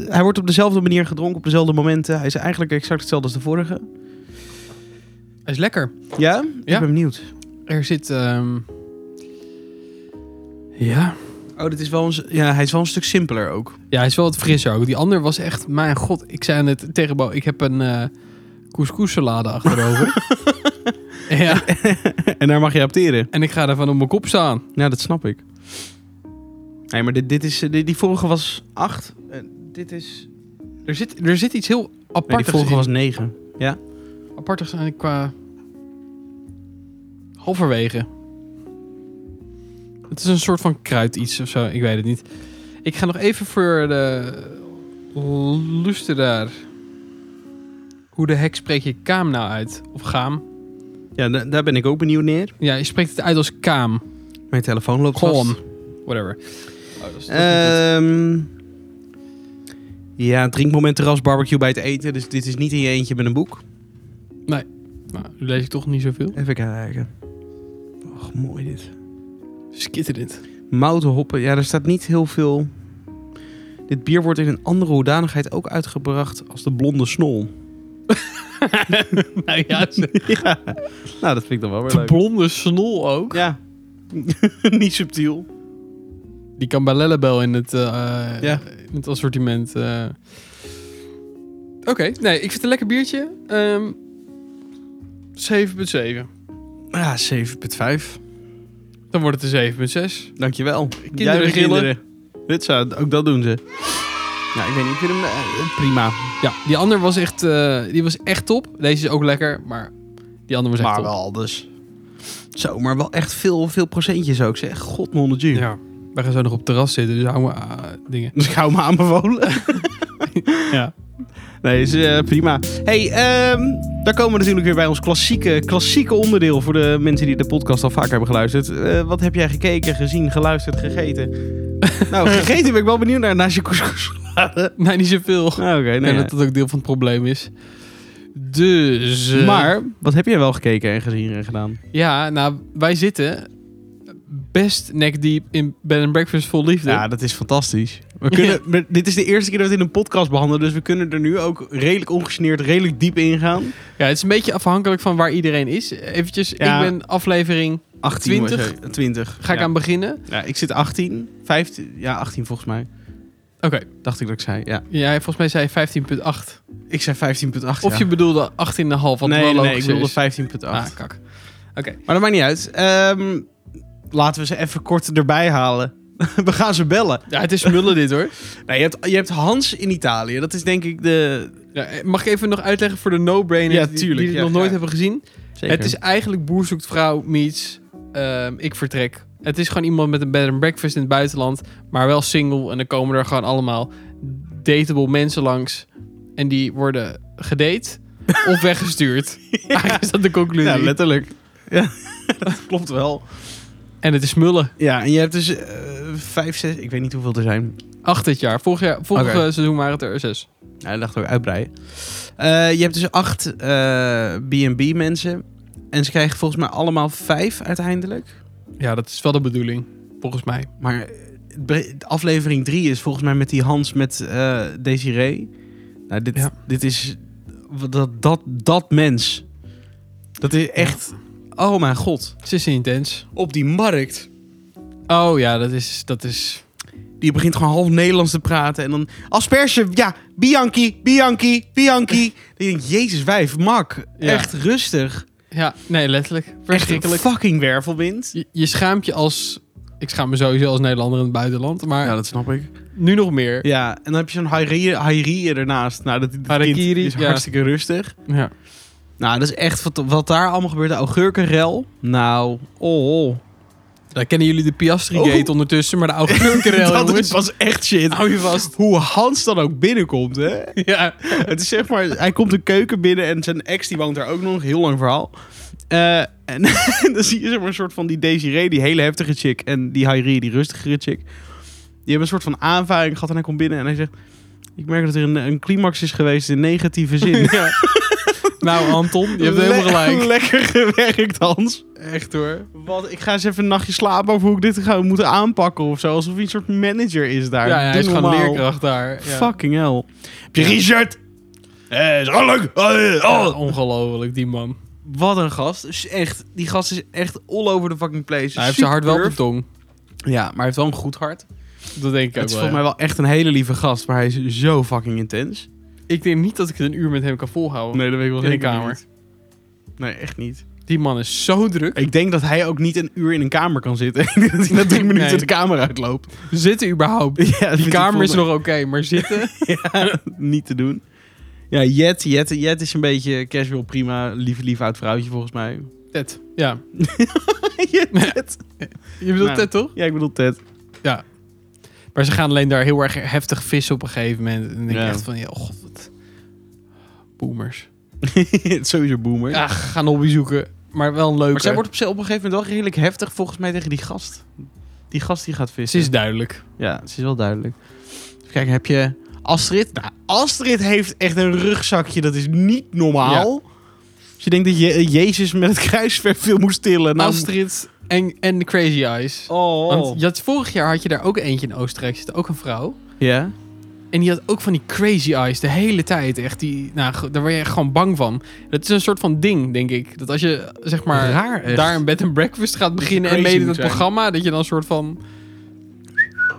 [SPEAKER 1] hij wordt op dezelfde manier gedronken, op dezelfde momenten. Hij is eigenlijk exact hetzelfde als de vorige.
[SPEAKER 2] hij is lekker.
[SPEAKER 1] Ja?
[SPEAKER 2] Ja.
[SPEAKER 1] Ik ben benieuwd.
[SPEAKER 2] Er zit... ehm, Ja.
[SPEAKER 1] Oh, dit is wel een, s- ja, hij is wel een stuk simpeler ook.
[SPEAKER 2] Ja, hij is wel wat frisser ook. Die ander was echt... Mijn god, ik zei net tegen Bo, ik heb een eh couscous salade
[SPEAKER 1] [laughs]
[SPEAKER 2] achterover. ja,
[SPEAKER 1] [laughs] en daar mag je apteren.
[SPEAKER 2] en ik ga daarvan op mijn kop staan.
[SPEAKER 1] Ja, dat snap ik. Nee, maar dit, dit is, eh, die, die vorige was 8. dit is...
[SPEAKER 2] Er zit, er zit iets heel
[SPEAKER 1] Nee, die
[SPEAKER 2] apartigs
[SPEAKER 1] vorige
[SPEAKER 2] in.
[SPEAKER 1] was 9.
[SPEAKER 2] Apartigs aan qua... Halverwege. Het is een soort van kruid iets of zo. Ik weet het niet. Ik ga nog even voor de luisteraar. Hoe de hek spreek je kaam nou uit? Of gaam?
[SPEAKER 1] Ja, da- daar ben ik ook benieuwd naar.
[SPEAKER 2] Ja, je spreekt het uit als kaam.
[SPEAKER 1] Mijn telefoon loopt vast.
[SPEAKER 2] Gewoon. Whatever.
[SPEAKER 1] Ehm ja, drinkmoment, terras, barbecue bij het eten. Dus dit is niet in je eentje met een boek.
[SPEAKER 2] nou, nu lees ik toch niet zoveel.
[SPEAKER 1] Even kijken. Och, mooi dit.
[SPEAKER 2] Skitterend.
[SPEAKER 1] Mouten, hoppen. Ja, er staat niet heel veel... Dit bier wordt in een andere hoedanigheid ook uitgebracht als de blonde snol.
[SPEAKER 2] nou ja, [laughs] de
[SPEAKER 1] ja. Nou, dat vind ik dan wel weer leuk.
[SPEAKER 2] blonde snol ook.
[SPEAKER 1] Ja. [laughs] niet subtiel.
[SPEAKER 2] Die kan bij Lellebel in het, eh,
[SPEAKER 1] Ja.
[SPEAKER 2] in het assortiment. eh. Oké, nee, ik vind het een lekker biertje. Ehm 7,7.
[SPEAKER 1] Ja, 7,5.
[SPEAKER 2] Dan wordt het een 7,6.
[SPEAKER 1] Dankjewel.
[SPEAKER 2] Kinderen
[SPEAKER 1] de
[SPEAKER 2] gillen.
[SPEAKER 1] Dit zou, ook dat doen ze. Nou, ik weet niet. Ik vind hem eh, prima.
[SPEAKER 2] Ja, die ander was echt, eh, die was echt top. Deze is ook lekker, maar die ander was echt
[SPEAKER 1] maar
[SPEAKER 2] top.
[SPEAKER 1] wel, dus. Zo, maar wel echt veel, veel procentjes ook, zeg. God, mijn 100
[SPEAKER 2] Ja. Wij gaan zo nog op het terras zitten, dus houden we ah, dingen.
[SPEAKER 1] Dus ik hou me [laughs] aanbevolen.
[SPEAKER 2] Ja.
[SPEAKER 1] Nee, is eh, prima. hey, ehm, daar komen we natuurlijk weer bij ons klassieke, klassieke onderdeel... voor de mensen die de podcast al vaak hebben geluisterd. Eh, wat heb jij gekeken, gezien, geluisterd, [laughs] gegeten? nou, gegeten ben ik wel benieuwd naar, naast je couscous. [laughs]
[SPEAKER 2] Nee, niet zoveel.
[SPEAKER 1] Ah, Oké, nee.
[SPEAKER 2] Ik denk dat dat ook deel van het probleem is. Dus. eh,
[SPEAKER 1] Maar, wat heb jij wel gekeken en gezien en gedaan?
[SPEAKER 2] Ja, nou, wij zitten best neck deep in Bed and Breakfast vol liefde.
[SPEAKER 1] Ja, dat is fantastisch. We kunnen, [laughs] we- dit is de eerste keer dat we het in een podcast behandelen, dus we kunnen er nu ook redelijk ongegeneerd, redelijk diep in gaan.
[SPEAKER 2] Ja, het is een beetje afhankelijk van waar iedereen is. Eventjes,
[SPEAKER 1] Ja.
[SPEAKER 2] ik ben aflevering,
[SPEAKER 1] 18 was
[SPEAKER 2] 20?
[SPEAKER 1] hij. 20.
[SPEAKER 2] ga ik
[SPEAKER 1] ja.
[SPEAKER 2] aan beginnen.
[SPEAKER 1] Ja, ik zit 18, 15, ja 18 volgens mij.
[SPEAKER 2] Oké,
[SPEAKER 1] Dacht ik dat ik zei, ja.
[SPEAKER 2] jij volgens mij zei je 15.8.
[SPEAKER 1] Ik zei 15.8,
[SPEAKER 2] Of je bedoelde 18,5, wat
[SPEAKER 1] nee,
[SPEAKER 2] wel
[SPEAKER 1] nee, nee,
[SPEAKER 2] logisch
[SPEAKER 1] ik bedoelde
[SPEAKER 2] is.
[SPEAKER 1] 15.8.
[SPEAKER 2] Ah, kak.
[SPEAKER 1] Maar dat maakt niet uit. Ehm, laten we ze even kort erbij halen. [laughs] we gaan ze bellen.
[SPEAKER 2] Ja, het is smullen dit hoor.
[SPEAKER 1] Nou, je, hebt, je hebt Hans in Italië. Dat is denk ik de...
[SPEAKER 2] Ja, eh, mag ik even nog uitleggen voor de no-brainers
[SPEAKER 1] Ja,
[SPEAKER 2] die-
[SPEAKER 1] tuurlijk,
[SPEAKER 2] die dit
[SPEAKER 1] ja,
[SPEAKER 2] nog nooit
[SPEAKER 1] ja.
[SPEAKER 2] hebben gezien? Het is eigenlijk boer zoekt vrouw meets ehm, ik vertrek. Het is gewoon iemand met een bed and breakfast in het buitenland, maar wel single. En dan komen er gewoon allemaal dateable mensen langs. En die worden gedate [laughs] of weggestuurd.
[SPEAKER 1] [laughs]
[SPEAKER 2] Eigenlijk is dat de conclusie.
[SPEAKER 1] Ja, letterlijk. Ja, [laughs] dat klopt wel.
[SPEAKER 2] en het is mullen.
[SPEAKER 1] Ja, en je hebt dus eh, vijf, zes, ik weet niet hoeveel er zijn.
[SPEAKER 2] Acht dit jaar. Vorig, jaar, vorig
[SPEAKER 1] Oké.
[SPEAKER 2] eh, seizoen waren het er zes.
[SPEAKER 1] Hij dacht ook uitbreiden. Eh, je hebt dus acht eh, B&B mensen. En ze krijgen volgens mij allemaal vijf uiteindelijk.
[SPEAKER 2] Ja, dat is wel de bedoeling. Volgens mij.
[SPEAKER 1] Maar het bre- aflevering drie is volgens mij met die Hans met eh Desiree. Nou, dit,
[SPEAKER 2] Ja.
[SPEAKER 1] dit is... Dat, dat, dat mens. Dat is echt... Oh mijn god.
[SPEAKER 2] Ze is intens.
[SPEAKER 1] Op die markt...
[SPEAKER 2] Oh ja, dat is... Dat is...
[SPEAKER 1] Die begint gewoon half Nederlands te praten. En dan asperge, ja, Bianchi, Bianchi, Bianchi. [laughs] Dan denk ik, jezus wijf, mak.
[SPEAKER 2] Ja.
[SPEAKER 1] Echt rustig.
[SPEAKER 2] Ja, nee, letterlijk.
[SPEAKER 1] Echt een
[SPEAKER 2] Verschrikkelijk.
[SPEAKER 1] fucking wervelwind.
[SPEAKER 2] Je, je schaamt je als... Ik schaam me sowieso als Nederlander in het buitenland. Maar
[SPEAKER 1] dat snap ik.
[SPEAKER 2] nu nog meer.
[SPEAKER 1] Ja, en dan heb je zo'n Hairi- Hairi ernaast. Nou, dat, dat kind
[SPEAKER 2] Harakiri,
[SPEAKER 1] is
[SPEAKER 2] ja.
[SPEAKER 1] hartstikke rustig.
[SPEAKER 2] Ja.
[SPEAKER 1] Nou, dat is echt wat, wat daar allemaal gebeurt. De augurkenrel. Nou, oh. oh.
[SPEAKER 2] Daar kennen jullie de Piastri Gate
[SPEAKER 1] Oh.
[SPEAKER 2] ondertussen. Maar de oude
[SPEAKER 1] [laughs]
[SPEAKER 2] kurkerel,
[SPEAKER 1] dat
[SPEAKER 2] jongens.
[SPEAKER 1] was echt shit.
[SPEAKER 2] Hou je vast.
[SPEAKER 1] Hoe Hans dan ook binnenkomt,
[SPEAKER 2] [laughs]
[SPEAKER 1] hè?
[SPEAKER 2] Ja.
[SPEAKER 1] Het is zeg maar, hij komt de keuken binnen en zijn ex die woont daar ook nog. Heel lang verhaal. Eh, en [laughs] dan zie je zeg maar een soort van die Desiree, die hele heftige chick. En die Hairi, die rustigere chick. Die hebben een soort van aanvaring gehad en hij komt binnen en hij zegt... Ik merk dat er een, een climax is geweest in negatieve
[SPEAKER 2] [laughs]
[SPEAKER 1] zin.
[SPEAKER 2] ja. Nou, Anton, je hebt helemaal
[SPEAKER 1] Le-
[SPEAKER 2] gelijk.
[SPEAKER 1] [laughs] Lekker gewerkt, Hans.
[SPEAKER 2] Echt hoor.
[SPEAKER 1] Wat, ik ga eens even een nachtje slapen over hoe ik dit ga moeten aanpakken of zo. Alsof hij een soort manager is daar.
[SPEAKER 2] Ja, ja, hij
[SPEAKER 1] Doe
[SPEAKER 2] is gewoon
[SPEAKER 1] normaal.
[SPEAKER 2] leerkracht daar. Ja.
[SPEAKER 1] Fucking hell. Heb je Richard? Eh, is gewoon leuk. Eh,
[SPEAKER 2] Ja,
[SPEAKER 1] oh.
[SPEAKER 2] ongelooflijk, die man. Nou,
[SPEAKER 1] Wat een gast. Dus echt, die gast is echt all over the fucking place.
[SPEAKER 2] hij heeft zijn hart wel op de
[SPEAKER 1] Superb.
[SPEAKER 2] tong.
[SPEAKER 1] Ja, maar hij heeft wel een goed hart.
[SPEAKER 2] Dat denk ik
[SPEAKER 1] Het
[SPEAKER 2] ook
[SPEAKER 1] is
[SPEAKER 2] wel.
[SPEAKER 1] volgens mij wel echt een hele lieve gast, maar hij is zo fucking intens.
[SPEAKER 2] ja. Ik denk niet dat ik het een uur met hem kan volhouden.
[SPEAKER 1] dat weet ik wel
[SPEAKER 2] In de
[SPEAKER 1] zeker
[SPEAKER 2] kamer.
[SPEAKER 1] niet. Nee, echt niet.
[SPEAKER 2] Die man is zo druk.
[SPEAKER 1] Ik denk dat hij ook niet een uur in een kamer kan zitten. [laughs] Ik denk dat hij na drie minuten
[SPEAKER 2] Nee.
[SPEAKER 1] de kamer uitloopt.
[SPEAKER 2] Zitten überhaupt.
[SPEAKER 1] [laughs] Ja,
[SPEAKER 2] Die kamer is nog oké, maar
[SPEAKER 1] [laughs]
[SPEAKER 2] zitten.
[SPEAKER 1] Ja, niet te doen. Ja, Jet, Jet, Jet is een beetje casual, prima, lief, lief oud vrouwtje volgens mij.
[SPEAKER 2] Ted. Ja.
[SPEAKER 1] Jet, Jet.
[SPEAKER 2] Je bedoelt
[SPEAKER 1] Nou.
[SPEAKER 2] Ted toch?
[SPEAKER 1] [laughs] Ja, ik bedoel Ted.
[SPEAKER 2] Maar ze gaan alleen daar heel erg heftig vissen op een gegeven moment. En dan denk je
[SPEAKER 1] Ja.
[SPEAKER 2] echt van, ja, oh god, wat... Boomers.
[SPEAKER 1] Het is [laughs] Sowieso boomer.
[SPEAKER 2] Ja, gaan hobby zoeken. Maar wel een leuke.
[SPEAKER 1] Maar zij wordt op, zich op een gegeven moment wel redelijk heftig volgens mij tegen die gast. Die gast die gaat
[SPEAKER 2] Ze
[SPEAKER 1] vissen.
[SPEAKER 2] is duidelijk.
[SPEAKER 1] Ja, ze is wel duidelijk. Even kijken, heb je Astrid? Nou, Astrid heeft echt een rugzakje, dat is niet normaal. Als je denkt dat je, Jezus met het kruisverf veel moest tillen. Nou,
[SPEAKER 2] Astrid en, en de Crazy Eyes.
[SPEAKER 1] Oh.
[SPEAKER 2] Want je had, vorig jaar had je daar ook eentje in Oostenrijk zitten, ook een vrouw.
[SPEAKER 1] ja.
[SPEAKER 2] En die had ook van die crazy eyes de hele tijd. Echt, die, nou, ge- daar word je echt gewoon bang van. Dat is een soort van ding, denk ik. Dat als je zeg maar
[SPEAKER 1] Raar echt.
[SPEAKER 2] daar een bed and breakfast gaat beginnen en
[SPEAKER 1] crazy
[SPEAKER 2] meedoet in
[SPEAKER 1] moet
[SPEAKER 2] het
[SPEAKER 1] zijn.
[SPEAKER 2] programma, dat je dan een soort van.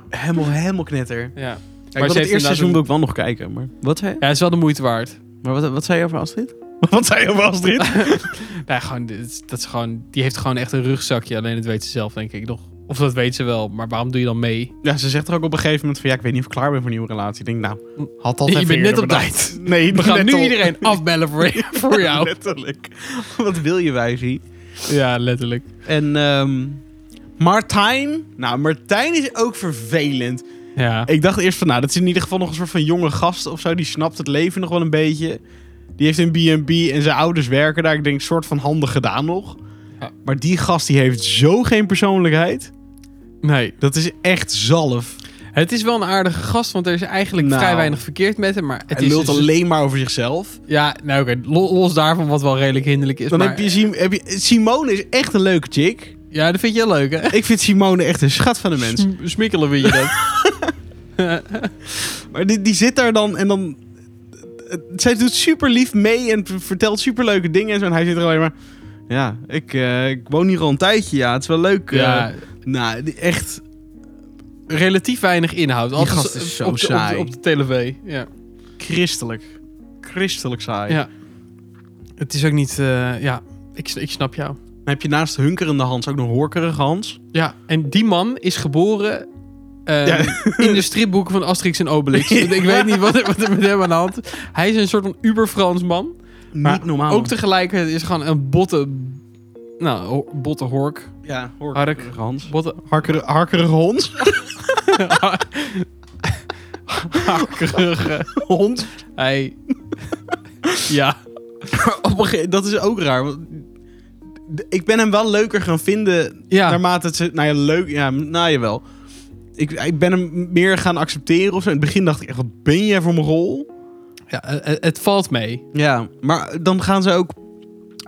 [SPEAKER 1] Helemaal, helemaal knetter.
[SPEAKER 2] Ja.
[SPEAKER 1] maar
[SPEAKER 2] ze
[SPEAKER 1] het
[SPEAKER 2] heeft
[SPEAKER 1] eerste seizoen
[SPEAKER 2] inderdaad
[SPEAKER 1] wil ik wel nog kijken. Maar wat zei,
[SPEAKER 2] Ja, het is wel de moeite waard.
[SPEAKER 1] maar wat, wat zei je over Astrid? Wat zei je over Astrid?
[SPEAKER 2] Nee, gewoon, dit is- dat is gewoon, die heeft gewoon echt een rugzakje. Alleen dat weet ze zelf, denk ik nog. Of dat weet ze wel, maar waarom doe je dan mee?
[SPEAKER 1] ja, ze zegt er ook op een gegeven moment van... Ja, ik weet niet of ik klaar ben voor een nieuwe relatie. Ik denk, nou, had dat
[SPEAKER 2] Je
[SPEAKER 1] even
[SPEAKER 2] bent net
[SPEAKER 1] eerder
[SPEAKER 2] op
[SPEAKER 1] bedacht. [laughs]
[SPEAKER 2] tijd.
[SPEAKER 1] Nee,
[SPEAKER 2] We gaan
[SPEAKER 1] net
[SPEAKER 2] nu
[SPEAKER 1] op.
[SPEAKER 2] iedereen afbellen [laughs] voor,
[SPEAKER 1] [laughs]
[SPEAKER 2] voor jou.
[SPEAKER 1] Letterlijk. Wat wil je, wijfie?
[SPEAKER 2] Ja, letterlijk.
[SPEAKER 1] En ehm, Martijn. Nou, Martijn is ook vervelend.
[SPEAKER 2] Ja.
[SPEAKER 1] Ik dacht eerst van, nou, dat is in ieder geval nog een soort van jonge gast of zo. Die snapt het leven nog wel een beetje. Die heeft een B&B en zijn ouders werken daar. Ik denk, soort van handig gedaan nog.
[SPEAKER 2] Ja.
[SPEAKER 1] Maar die gast, die heeft zo geen persoonlijkheid.
[SPEAKER 2] Nee.
[SPEAKER 1] Dat is echt zalf.
[SPEAKER 2] Het is wel een aardige gast, want er is eigenlijk
[SPEAKER 1] Nou.
[SPEAKER 2] vrij weinig verkeerd met hem. Maar het
[SPEAKER 1] Hij
[SPEAKER 2] is
[SPEAKER 1] lult
[SPEAKER 2] dus-
[SPEAKER 1] alleen maar over zichzelf.
[SPEAKER 2] Ja, nou oké, lo- los daarvan wat wel redelijk hinderlijk is.
[SPEAKER 1] Dan
[SPEAKER 2] maar,
[SPEAKER 1] heb je, Sim- heb je... Simone is echt een leuke chick.
[SPEAKER 2] Ja, dat vind je leuk, hè?
[SPEAKER 1] Ik vind Simone echt een schat van een
[SPEAKER 2] [laughs]
[SPEAKER 1] mens.
[SPEAKER 2] Sm- Smikkelen vind je dat.
[SPEAKER 1] Maar die, die zit daar dan en dan... het- Zij doet super lief mee en v- vertelt super leuke dingen en zo. En hij zit er alleen maar... Ja, ik, eh, ik woon hier al een tijdje, ja. Het is wel leuk. eh."
[SPEAKER 2] [laughs] ja,
[SPEAKER 1] nou, die- echt...
[SPEAKER 2] relatief weinig inhoud. Altijd
[SPEAKER 1] gast is zo
[SPEAKER 2] op, de- op de-
[SPEAKER 1] saai.
[SPEAKER 2] Op de, tv, ja.
[SPEAKER 1] Christelijk. Christelijk saai.
[SPEAKER 2] ja. Het is ook niet... eh, ja, ik, s- ik snap jou.
[SPEAKER 1] Dan heb je naast hunkerende Hans ook nog horkerige Hans.
[SPEAKER 2] Ja, en die man is geboren... eh,
[SPEAKER 1] Ja. [laughs]
[SPEAKER 2] [laughs] In de stripboeken van Asterix en Obelix. Want Ik weet niet wat er, wat er met hem aan de hand is. Hij is een soort van uber-Frans man. Maar
[SPEAKER 1] Niet normaal.
[SPEAKER 2] Ook tegelijkertijd is gewoon een botte... Nou, ho- botte hork.
[SPEAKER 1] Ja,
[SPEAKER 2] [laughs] horkerige
[SPEAKER 1] Hans.
[SPEAKER 2] [laughs] Botte...
[SPEAKER 1] Harkerige Hans.
[SPEAKER 2] hakkerige
[SPEAKER 1] hond.
[SPEAKER 2] ei. ja.
[SPEAKER 1] Op een gege- dat is ook raar. Want d- ik ben hem wel leuker gaan vinden
[SPEAKER 2] Ja.
[SPEAKER 1] naarmate het... ze- Nou ja, leuk. Ja, nou jawel. Ik, ik ben hem meer gaan accepteren of zo. In het begin dacht ik echt, wat ben jij voor mijn rol?
[SPEAKER 2] ja, eh, het, het valt mee.
[SPEAKER 1] Ja, maar dan gaan ze ook...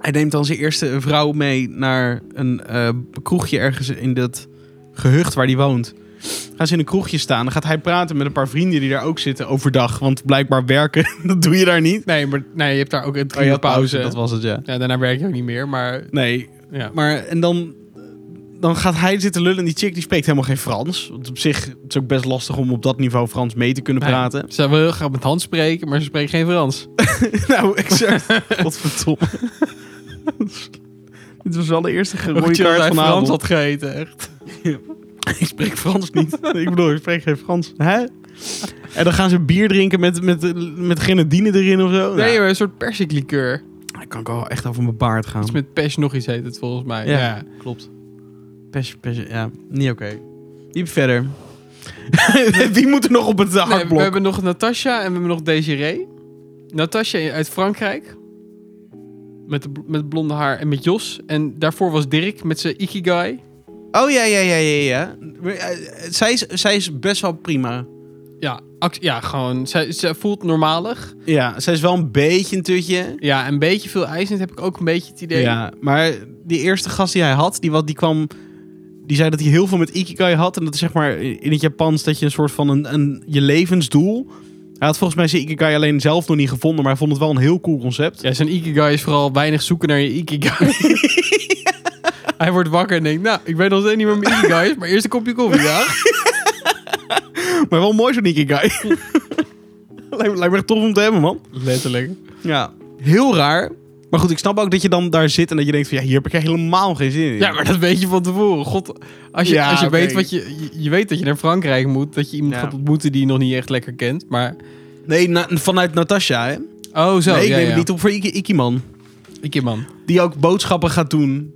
[SPEAKER 1] Hij neemt dan zijn eerste vrouw mee naar een eh, kroegje ergens in dat gehucht waar hij woont. Gaan ze in een kroegje staan. Dan gaat hij praten met een paar vrienden die daar ook zitten overdag. Want blijkbaar werken, [laughs] dat doe je daar niet.
[SPEAKER 2] Nee, maar nee, je hebt daar ook een
[SPEAKER 1] Oh,
[SPEAKER 2] drie
[SPEAKER 1] je
[SPEAKER 2] uur
[SPEAKER 1] had
[SPEAKER 2] pauze.
[SPEAKER 1] Dat was het, ja.
[SPEAKER 2] Ja, daarna werk je ook niet meer, maar
[SPEAKER 1] Nee,
[SPEAKER 2] ja.
[SPEAKER 1] Maar en dan, dan gaat hij zitten lullen en die chick die spreekt helemaal geen Frans. Want op zich het is ook best lastig om op dat niveau Frans mee te kunnen
[SPEAKER 2] Nee,
[SPEAKER 1] praten.
[SPEAKER 2] Ze wil heel graag met hand spreken, maar ze spreekt geen Frans.
[SPEAKER 1] [laughs] nou, exact. [laughs] Godverdomme. [laughs] Dit was wel de eerste
[SPEAKER 2] Ook
[SPEAKER 1] rode
[SPEAKER 2] chill dat
[SPEAKER 1] kaart
[SPEAKER 2] hij
[SPEAKER 1] van
[SPEAKER 2] Frans
[SPEAKER 1] avond.
[SPEAKER 2] had gegeten, echt.
[SPEAKER 1] Ik spreek Frans [laughs] niet. ik bedoel, ik spreek geen Frans. Hè? En dan gaan ze bier drinken met, met, met grenadine erin of zo.
[SPEAKER 2] Nee,
[SPEAKER 1] Nou,
[SPEAKER 2] maar een soort persiklikeur.
[SPEAKER 1] dan kan ik al echt over mijn baard gaan.
[SPEAKER 2] Iets met pers nog iets heet het volgens mij.
[SPEAKER 1] Ja.
[SPEAKER 2] Ja.
[SPEAKER 1] Klopt. Pes, pes, ja, niet oké. Diep [laughs] verder. Wie moet er nog op het
[SPEAKER 2] Nee,
[SPEAKER 1] hakblok?
[SPEAKER 2] we hebben nog Natasha en we hebben nog Desiree. Natasha uit Frankrijk. Met, de, bl- met blonde haar en met Jos. En daarvoor was Dirk met zijn Ikigai.
[SPEAKER 1] Oh ja, ja, ja, ja, ja. Maar, eh, Zij is, zij is best wel prima.
[SPEAKER 2] Ja, act- ja gewoon. Zij, ze voelt normalig.
[SPEAKER 1] Ja, zij is wel een beetje een tutje.
[SPEAKER 2] Ja, een beetje veel eisend heb ik ook een beetje het idee.
[SPEAKER 1] Ja, maar die eerste gast die hij had, die, wat, die kwam... Die zei dat hij heel veel met Ikigai had. En dat is zeg maar in het Japans dat je een soort van een, een, je levensdoel... Hij had volgens mij zijn Ikigai alleen zelf nog niet gevonden, maar hij vond het wel een heel cool concept.
[SPEAKER 2] Ja, zijn Ikigai is vooral weinig zoeken naar je
[SPEAKER 1] [laughs]
[SPEAKER 2] Ikigai. Hij wordt wakker en denkt, nou, ik weet nog steeds niet meer mijn Ikigai is, maar eerst een kopje koffie, ja?
[SPEAKER 1] Maar wel mooi zo'n
[SPEAKER 2] [laughs]
[SPEAKER 1] Ikigai. lijkt, me- lijkt me echt tof om te hebben, man.
[SPEAKER 2] Letterlijk.
[SPEAKER 1] Ja, heel raar. Maar goed, ik snap ook dat je dan daar zit en dat je denkt van... Ja, hier heb ik echt helemaal geen zin in.
[SPEAKER 2] Ja, maar dat weet je van tevoren. God, als je,
[SPEAKER 1] Ja,
[SPEAKER 2] als je
[SPEAKER 1] oké.
[SPEAKER 2] weet wat je, je, je weet dat je naar Frankrijk moet, dat je iemand
[SPEAKER 1] Ja.
[SPEAKER 2] gaat ontmoeten die je nog niet echt lekker kent, maar...
[SPEAKER 1] Nee, na- vanuit Natasha, hè?
[SPEAKER 2] Oh, zo,
[SPEAKER 1] nee, ik
[SPEAKER 2] ja,
[SPEAKER 1] neem
[SPEAKER 2] ja.
[SPEAKER 1] het niet op voor Iki, Ikiman.
[SPEAKER 2] Ik man.
[SPEAKER 1] Die ook boodschappen gaat doen.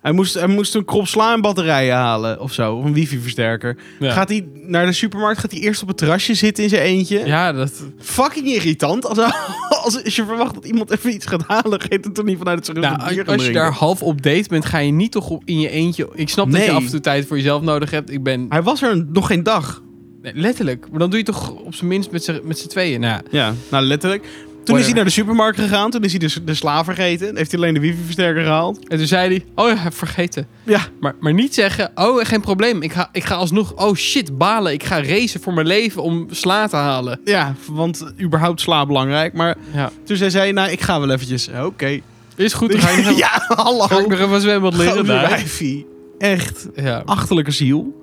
[SPEAKER 1] Hij moest, hij moest een krop sla en batterijen halen of zo. Of een wifi-versterker.
[SPEAKER 2] Ja.
[SPEAKER 1] Gaat hij naar de supermarkt, gaat hij eerst op het terrasje zitten in zijn eentje.
[SPEAKER 2] ja, dat...
[SPEAKER 1] Fucking irritant. Als, [laughs] als, als je verwacht dat iemand even iets gaat halen, gaat het toch niet vanuit het terras
[SPEAKER 2] Nou,
[SPEAKER 1] een bier
[SPEAKER 2] als,
[SPEAKER 1] gaan
[SPEAKER 2] als je
[SPEAKER 1] drinken.
[SPEAKER 2] daar half op date bent, ga je niet toch op- in je eentje... Ik snap dat
[SPEAKER 1] Nee.
[SPEAKER 2] je af en toe tijd voor jezelf nodig hebt. Ik ben...
[SPEAKER 1] Hij was er nog geen dag.
[SPEAKER 2] Nee, letterlijk. Maar dan doe je toch op zijn minst met z'n- met z'n tweeën. Nou, ja.
[SPEAKER 1] Ja, nou letterlijk. Toen is hij
[SPEAKER 2] Whatever.
[SPEAKER 1] naar de supermarkt gegaan. Toen is hij dus de, de sla vergeten. Heeft hij alleen de wifi-versterker gehaald.
[SPEAKER 2] en toen zei hij... Oh ja, heb vergeten.
[SPEAKER 1] Ja,
[SPEAKER 2] Maar, maar niet zeggen, oh, geen probleem. Ik ga, ik ga alsnog, oh shit, balen. Ik ga racen voor mijn leven om sla te halen.
[SPEAKER 1] ja, want überhaupt sla belangrijk. Maar
[SPEAKER 2] Ja.
[SPEAKER 1] toen zei hij, nou ik ga wel eventjes. Oké.
[SPEAKER 2] Is goed, dan ga
[SPEAKER 1] [laughs]
[SPEAKER 2] ik nog even,
[SPEAKER 1] ja, hallo.
[SPEAKER 2] ga ik nog even zwembad leren
[SPEAKER 1] Gouden
[SPEAKER 2] daar.
[SPEAKER 1] wijfie. Echt.
[SPEAKER 2] Ja.
[SPEAKER 1] Achterlijke ziel.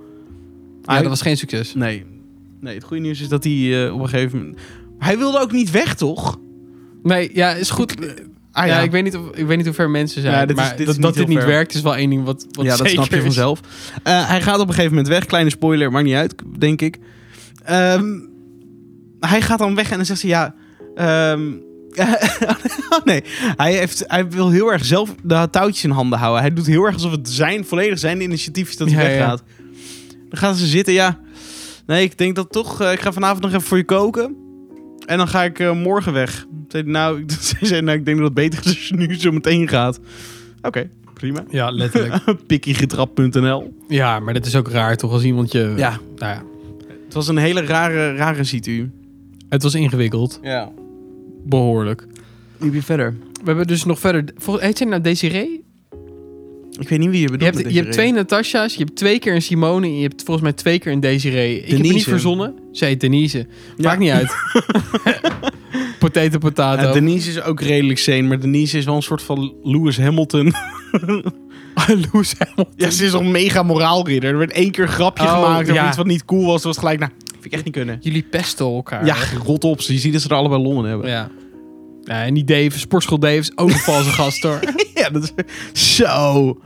[SPEAKER 2] ja, dat was geen succes.
[SPEAKER 1] Nee. Nee, het goede nieuws is dat hij eh, op een gegeven moment... Hij wilde ook niet weg, toch?
[SPEAKER 2] Nee, ja, is goed.
[SPEAKER 1] Ah,
[SPEAKER 2] ja. ik, weet niet of, ik weet niet hoe ver mensen zijn,
[SPEAKER 1] Ja, dit is-
[SPEAKER 2] maar
[SPEAKER 1] dit is
[SPEAKER 2] dat,
[SPEAKER 1] niet
[SPEAKER 2] dat dit
[SPEAKER 1] heel
[SPEAKER 2] niet
[SPEAKER 1] ver.
[SPEAKER 2] werkt is wel één ding wat, wat
[SPEAKER 1] ja, dat
[SPEAKER 2] zeker
[SPEAKER 1] snap je
[SPEAKER 2] is.
[SPEAKER 1] vanzelf. Eh, hij gaat op een gegeven moment weg. Kleine spoiler, maakt niet uit, denk ik. Ehm, hij gaat dan weg en dan zegt ze ja. ehm, [laughs] oh nee, hij, heeft, hij wil heel erg zelf de touwtjes in handen houden. Hij doet heel erg alsof het zijn, volledig zijn initiatief is dat hij
[SPEAKER 2] Ja, ja.
[SPEAKER 1] weggaat. Dan gaan ze zitten, ja. Nee, ik denk dat toch. eh, ik ga vanavond nog even voor je koken. En dan ga ik eh, morgen weg. Zei, hij, nou, [laughs] ik, zei, hij, nou, ik denk dat het beter is als je nu zo meteen gaat. Oké, prima.
[SPEAKER 2] Ja,
[SPEAKER 1] [laughs]
[SPEAKER 2] letterlijk.
[SPEAKER 1] Pikkiegetrap.nl.
[SPEAKER 2] ja, maar dat is ook raar toch, als iemand je...
[SPEAKER 1] Ja,
[SPEAKER 2] Nou ja,
[SPEAKER 1] het was een hele rare, rare situ.
[SPEAKER 2] het was ingewikkeld.
[SPEAKER 1] Ja.
[SPEAKER 2] Behoorlijk.
[SPEAKER 1] Nu weer verder.
[SPEAKER 2] We hebben dus nog verder... Vol, heet zij nou Desiree?
[SPEAKER 1] Ik weet niet wie je bedoelt.
[SPEAKER 2] Je hebt,
[SPEAKER 1] met
[SPEAKER 2] je hebt
[SPEAKER 1] deze
[SPEAKER 2] twee Natasha's, je hebt twee keer een Simone en je hebt volgens mij twee keer een Desiree. Ik heb het niet
[SPEAKER 1] Denise.
[SPEAKER 2] verzonnen. Zij heet Denise.
[SPEAKER 1] Ja.
[SPEAKER 2] Maakt niet
[SPEAKER 1] [laughs]
[SPEAKER 2] uit. potato,
[SPEAKER 1] reden.
[SPEAKER 2] potato.
[SPEAKER 1] Ja, Denise is ook redelijk sane, maar Denise is wel een soort van Lewis [laughs] Hamilton.
[SPEAKER 2] Loes Hamilton.
[SPEAKER 1] ja, ze is een mega moraalridder. Er werd één keer een grapje
[SPEAKER 2] Oh,
[SPEAKER 1] gemaakt over
[SPEAKER 2] ja.
[SPEAKER 1] iets wat niet cool was. Dat was gelijk, nou, vind ik echt niet kunnen.
[SPEAKER 2] Jullie pesten elkaar.
[SPEAKER 1] Ja, rot op. Je ziet dat ze er allebei longen hebben.
[SPEAKER 2] ja. Ja, en die Dave, sportschool Dave is ook een valse [laughs] gast hoor.
[SPEAKER 1] [laughs] Ja, dat is... Zo.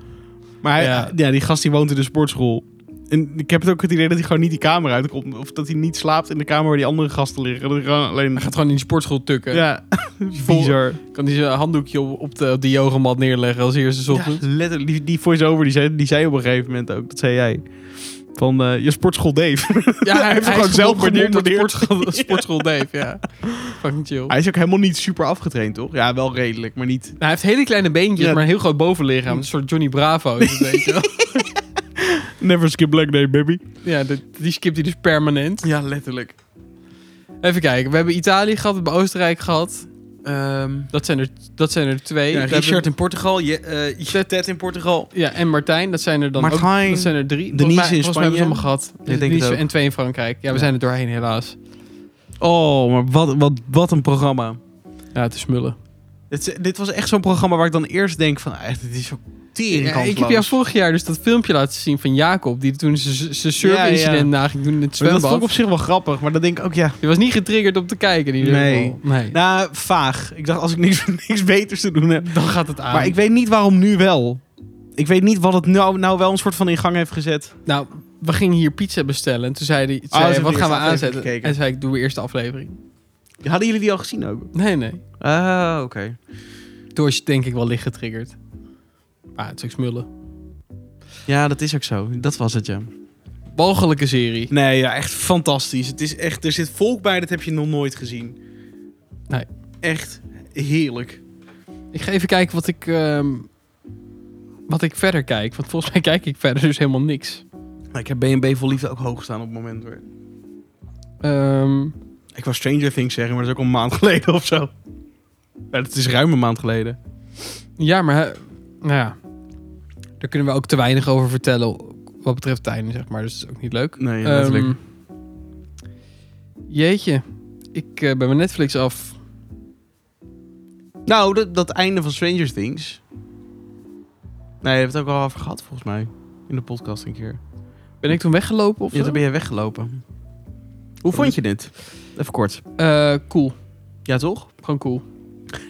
[SPEAKER 1] Maar hij- ja.
[SPEAKER 2] Ja.
[SPEAKER 1] die gast die woont in de sportschool. En ik heb het ook het idee dat hij gewoon niet die kamer uitkomt. Of dat hij niet slaapt in de kamer waar die andere gasten liggen. Dat hij gewoon alleen...
[SPEAKER 2] Hij gaat gewoon in die sportschool tukken.
[SPEAKER 1] [laughs] Ja, [laughs]
[SPEAKER 2] Bizar. Kan hij zijn handdoekje op, op de, op de yogamat neerleggen als eerste
[SPEAKER 1] Ja,
[SPEAKER 2] ochtend.
[SPEAKER 1] letterlijk. Die, die voice-over die zei, die zei op een gegeven moment ook. Dat zei jij. Van eh, je sportschool Dave. [laughs]
[SPEAKER 2] [laughs] Ja,
[SPEAKER 1] Hij heeft
[SPEAKER 2] is
[SPEAKER 1] gewoon zelf
[SPEAKER 2] gemondeerd door
[SPEAKER 1] gemondeerd.
[SPEAKER 2] [laughs] sportschool, sportschool Dave, ja. Fucking chill.
[SPEAKER 1] hij is ook helemaal niet super afgetraind, toch? Ja, wel redelijk, maar niet...
[SPEAKER 2] Nou, hij heeft hele kleine beentjes,
[SPEAKER 1] Ja.
[SPEAKER 2] maar een heel groot bovenlichaam. Een soort Johnny Bravo is het, weet [laughs] je wel.
[SPEAKER 1] Never skip leg day, baby.
[SPEAKER 2] Ja, de- die skipt hij dus permanent.
[SPEAKER 1] Ja, letterlijk.
[SPEAKER 2] Even kijken, we hebben Italië gehad, we hebben Oostenrijk gehad. Dat zijn er, dat zijn er twee.
[SPEAKER 1] ja,
[SPEAKER 2] We hebben-
[SPEAKER 1] Ehm, Richard in Portugal. Je, eh, je- Ted in Portugal.
[SPEAKER 2] Ja, en Martijn, dat zijn er dan
[SPEAKER 1] Martijn,
[SPEAKER 2] ook. Dat zijn er drie.
[SPEAKER 1] Denise
[SPEAKER 2] Volgens mij-
[SPEAKER 1] in
[SPEAKER 2] volgens mij hebben we ze allemaal gehad.
[SPEAKER 1] denk het
[SPEAKER 2] Denise
[SPEAKER 1] ook.
[SPEAKER 2] en twee in Frankrijk. Ja, we
[SPEAKER 1] Ja.
[SPEAKER 2] zijn er doorheen helaas.
[SPEAKER 1] Oh, maar wat, wat, wat een programma.
[SPEAKER 2] Ja, het is smullen.
[SPEAKER 1] Dit, is- dit was echt zo'n programma waar ik dan eerst denk van... Echt, dit is zo tering
[SPEAKER 2] Ja, ik heb jou vorig jaar dus dat filmpje laten zien van Jacob. Die toen zijn zijn surf-incident
[SPEAKER 1] Ja, ja.
[SPEAKER 2] na ging doen in het
[SPEAKER 1] Dat vond ik
[SPEAKER 2] zwembad.
[SPEAKER 1] op zich wel grappig, maar dan denk ik ook ja...
[SPEAKER 2] Je was niet getriggerd om te kijken in ieder
[SPEAKER 1] Nee.
[SPEAKER 2] geval. Nee.
[SPEAKER 1] Nou, vaag. Ik dacht, als ik niks, [laughs] niks beters te doen heb...
[SPEAKER 2] dan gaat het aan.
[SPEAKER 1] Maar ik weet niet waarom nu wel. Ik weet niet wat het nou, nou wel een soort van in gang heeft gezet.
[SPEAKER 2] Nou, we gingen hier pizza bestellen. En toen zei hij,
[SPEAKER 1] Oh, ze
[SPEAKER 2] zei,
[SPEAKER 1] hebben
[SPEAKER 2] wat
[SPEAKER 1] de
[SPEAKER 2] gaan we
[SPEAKER 1] eerste aflevering
[SPEAKER 2] aanzetten?
[SPEAKER 1] gekeken.
[SPEAKER 2] En zei ik, doe we eerst de aflevering.
[SPEAKER 1] Hadden jullie die al gezien ook?
[SPEAKER 2] Nee, nee.
[SPEAKER 1] Ah, oké.
[SPEAKER 2] Toen was je denk ik wel licht getriggerd. Maar het is ook smullen.
[SPEAKER 1] Ja, dat is ook zo. Dat was het, ja.
[SPEAKER 2] Walgelijke serie.
[SPEAKER 1] Nee, ja, echt fantastisch. Het is echt, er zit volk bij, dat heb je nog nooit gezien.
[SPEAKER 2] Nee.
[SPEAKER 1] Echt heerlijk.
[SPEAKER 2] Ik ga even kijken wat ik, ehm, wat ik verder kijk. Want volgens mij kijk ik verder dus helemaal niks.
[SPEAKER 1] Maar ik heb BNB Vol Liefde ook hoog staan op het moment. Hoor.
[SPEAKER 2] Ehm,
[SPEAKER 1] Ik wou Stranger Things zeggen, maar dat is ook al een maand [laughs] geleden of zo. Ja, dat is ruim een maand geleden.
[SPEAKER 2] ja, maar... eh, Nou ja. Daar kunnen we ook te weinig over vertellen. Wat betreft Tijn, zeg maar. Dus dat is ook niet leuk.
[SPEAKER 1] Nee,
[SPEAKER 2] Ehm, jeetje. Ik eh, ben mijn Netflix af.
[SPEAKER 1] nou, dat, dat einde van Stranger Things. Nee, daar hebben we het ook al over gehad volgens mij. In de podcast een keer.
[SPEAKER 2] Ben ik toen weggelopen of
[SPEAKER 1] Ja,
[SPEAKER 2] zo?
[SPEAKER 1] toen ben je weggelopen. Hoe vond je dit? Even kort.
[SPEAKER 2] Eh, cool.
[SPEAKER 1] Ja, toch?
[SPEAKER 2] Gewoon cool.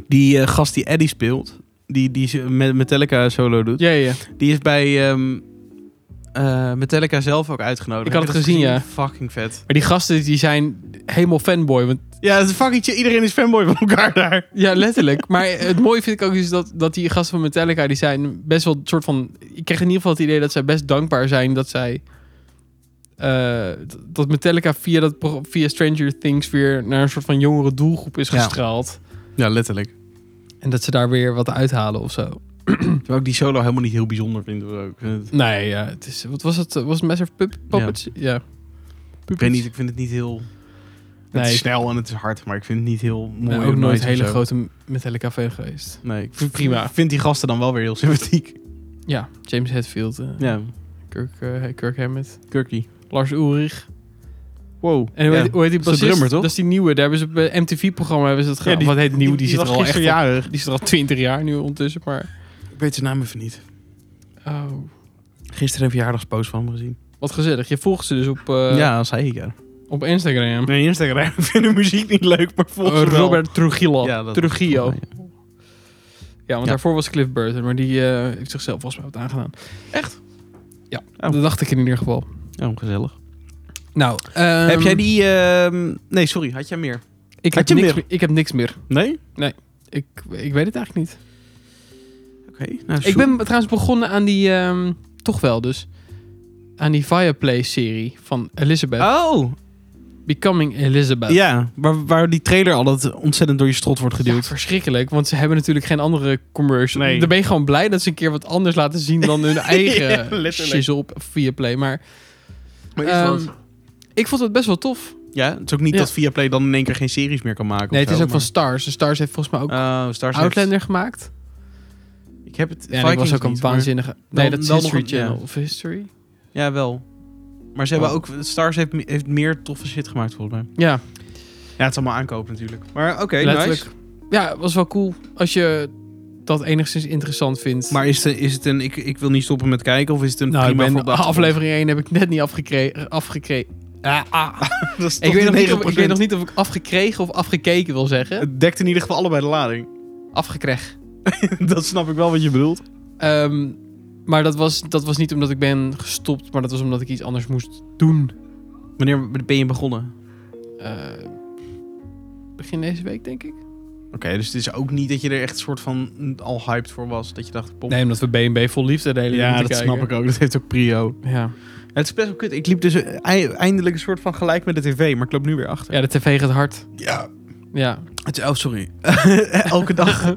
[SPEAKER 1] Die eh, gast die Eddie speelt, die, die ze- met Metallica solo doet,
[SPEAKER 2] Ja, ja.
[SPEAKER 1] die is bij ehm, eh, Metallica zelf ook uitgenodigd.
[SPEAKER 2] Ik had
[SPEAKER 1] Heb
[SPEAKER 2] het
[SPEAKER 1] je dat
[SPEAKER 2] gezien,
[SPEAKER 1] Fucking vet.
[SPEAKER 2] Maar die gasten die zijn helemaal fanboy. Want,
[SPEAKER 1] Ja, het is fucking chill. Iedereen is fanboy van elkaar daar.
[SPEAKER 2] ja, letterlijk. maar het mooie vind ik ook is dat, dat die gasten van Metallica... die zijn best wel een soort van... Ik kreeg in ieder geval het idee dat zij best dankbaar zijn dat zij... eh, d- dat Metallica via, dat, pro- via Stranger Things weer naar een soort van jongere doelgroep is
[SPEAKER 1] Ja.
[SPEAKER 2] gestraald.
[SPEAKER 1] Ja, letterlijk.
[SPEAKER 2] En dat ze daar weer wat uithalen of zo.
[SPEAKER 1] Terwijl ik die solo helemaal niet heel bijzonder vind. hoor, Ook. Eh,
[SPEAKER 2] Nee, ja. Het is, wat was het? Was het Massive Pup- Puppets? Ja.
[SPEAKER 1] Ik weet niet, ik vind het niet heel... Het
[SPEAKER 2] Nee,
[SPEAKER 1] is
[SPEAKER 2] ik-
[SPEAKER 1] snel en het is hard, maar ik vind het niet heel
[SPEAKER 2] Ik
[SPEAKER 1] mooi.
[SPEAKER 2] ben
[SPEAKER 1] of
[SPEAKER 2] ook nooit
[SPEAKER 1] nice of
[SPEAKER 2] hele
[SPEAKER 1] zo.
[SPEAKER 2] grote Metallica fan geweest.
[SPEAKER 1] Nee, ik vind,
[SPEAKER 2] Prima.
[SPEAKER 1] vind die gasten dan wel weer heel sympathiek.
[SPEAKER 2] Ja, James Hetfield, eh,
[SPEAKER 1] Ja,
[SPEAKER 2] Kirk, eh, Kirk Hammett,
[SPEAKER 1] Kirky.
[SPEAKER 2] Lars Ulrich.
[SPEAKER 1] Wow.
[SPEAKER 2] En hoe,
[SPEAKER 1] ja.
[SPEAKER 2] heet, hoe heet die
[SPEAKER 1] Dat is
[SPEAKER 2] bassist?
[SPEAKER 1] de drummer, toch?
[SPEAKER 2] Dat is die nieuwe. Daar hebben ze bij een MTV-programma hebben ze dat gedaan.
[SPEAKER 1] die-
[SPEAKER 2] Wat heet nieuw? Die, zit er al echt. Al,
[SPEAKER 1] jarig.
[SPEAKER 2] die zit er al 20 jaar nu ondertussen, maar.
[SPEAKER 1] Ik weet zijn naam even niet.
[SPEAKER 2] Oh.
[SPEAKER 1] Gisteren een verjaardagspost van hem gezien.
[SPEAKER 2] Wat gezellig. Je volgt ze dus op, eh,
[SPEAKER 1] ja, dat zei ik ja.
[SPEAKER 2] op Instagram.
[SPEAKER 1] Nee, Instagram [laughs] vinden muziek niet leuk, maar
[SPEAKER 2] Eh, Robert Trujillo.
[SPEAKER 1] Ja, dat- Oh,
[SPEAKER 2] Trujillo.
[SPEAKER 1] volgens
[SPEAKER 2] Ja, want
[SPEAKER 1] Ja.
[SPEAKER 2] daarvoor was Cliff Burton, maar die eh, heeft zichzelf volgens mij wat aangedaan.
[SPEAKER 1] Echt?
[SPEAKER 2] Ja,
[SPEAKER 1] Oh.
[SPEAKER 2] dat dacht ik in ieder geval.
[SPEAKER 1] Ja, oh, gezellig.
[SPEAKER 2] Nou,
[SPEAKER 1] heb
[SPEAKER 2] ehm,
[SPEAKER 1] jij die... ehm, Nee, sorry, had jij meer?
[SPEAKER 2] Ik heb,
[SPEAKER 1] had je
[SPEAKER 2] niks
[SPEAKER 1] meer?
[SPEAKER 2] meer, ik heb niks meer.
[SPEAKER 1] Nee?
[SPEAKER 2] Ik, ik weet het eigenlijk niet.
[SPEAKER 1] Oké. Nou,
[SPEAKER 2] Ik ben trouwens begonnen aan die, ehm, toch wel dus, aan die Fireplace-serie van Elizabeth.
[SPEAKER 1] Oh,
[SPEAKER 2] Becoming Elizabeth.
[SPEAKER 1] ja. Waar, waar die trailer altijd ontzettend door je strot wordt
[SPEAKER 2] Ja,
[SPEAKER 1] geduwd.
[SPEAKER 2] verschrikkelijk, want ze hebben natuurlijk geen andere commercial.
[SPEAKER 1] Nee.
[SPEAKER 2] Dan ben je gewoon blij dat ze een keer wat anders laten zien
[SPEAKER 1] [laughs]
[SPEAKER 2] dan hun eigen
[SPEAKER 1] letterlijk.
[SPEAKER 2] shizzle op Viaplay. Maar ehm, ik vond het best wel tof.
[SPEAKER 1] ja, het is ook niet
[SPEAKER 2] ja.
[SPEAKER 1] dat Viaplay dan in één keer geen series meer kan maken.
[SPEAKER 2] Nee,
[SPEAKER 1] of
[SPEAKER 2] het is
[SPEAKER 1] zo,
[SPEAKER 2] ook van Stars. En Stars heeft volgens mij ook
[SPEAKER 1] maar- Oh, Stars heeft-
[SPEAKER 2] Outlander gemaakt.
[SPEAKER 1] Ik heb het.
[SPEAKER 2] Ja, en ik was ook een
[SPEAKER 1] waanzin.
[SPEAKER 2] waanzinnige... Nee, dat is
[SPEAKER 1] wel nog
[SPEAKER 2] History
[SPEAKER 1] een- ja.
[SPEAKER 2] Channel of History.
[SPEAKER 1] Ja, wel. Maar ze
[SPEAKER 2] Oh.
[SPEAKER 1] hebben ook. Stars heeft, me- heeft meer toffe shit gemaakt, volgens mij.
[SPEAKER 2] Ja,
[SPEAKER 1] Ja, het is allemaal aankoop natuurlijk. Maar oké,
[SPEAKER 2] Letterlijk.
[SPEAKER 1] nice.
[SPEAKER 2] Ja, het was wel cool als je dat enigszins interessant vindt.
[SPEAKER 1] Maar is, de, is het een. Ik, ik wil niet stoppen met kijken, of is het een.
[SPEAKER 2] nou, ik
[SPEAKER 1] prima
[SPEAKER 2] ben,
[SPEAKER 1] voor op de achtergrond?
[SPEAKER 2] [laughs] aflevering 1 heb ik net niet afgekregen. afgekregen. Ah,
[SPEAKER 1] [laughs]
[SPEAKER 2] ah.
[SPEAKER 1] Dat is
[SPEAKER 2] Ik,
[SPEAKER 1] toch
[SPEAKER 2] weet nog niet of,
[SPEAKER 1] 9%.
[SPEAKER 2] ik weet nog niet of ik afgekregen of afgekeken wil zeggen.
[SPEAKER 1] Het dekt in ieder geval allebei de lading. [laughs]
[SPEAKER 2] Afgekregen.
[SPEAKER 1] dat snap ik wel wat je bedoelt.
[SPEAKER 2] Ehm, maar dat was, dat was niet omdat ik ben gestopt, maar dat was omdat ik iets anders moest doen.
[SPEAKER 1] Wanneer ben je begonnen?
[SPEAKER 2] Eh, begin deze week, denk ik.
[SPEAKER 1] Oké, dus het is ook niet dat je er echt soort van al hyped voor was. Dat je dacht, pop.
[SPEAKER 2] Nee, omdat we BNB vol liefde delen.
[SPEAKER 1] ja, dat snap ik ook. Dat heeft ook prio.
[SPEAKER 2] Ja.
[SPEAKER 1] Het is best wel kut. Ik liep dus eh, ei- eindelijk een soort van gelijk met de tv, maar ik loop nu weer achter.
[SPEAKER 2] Ja, de tv gaat hard.
[SPEAKER 1] Ja.
[SPEAKER 2] Ja,
[SPEAKER 1] Het is, oh, sorry. [laughs] elke [laughs] dag. eh,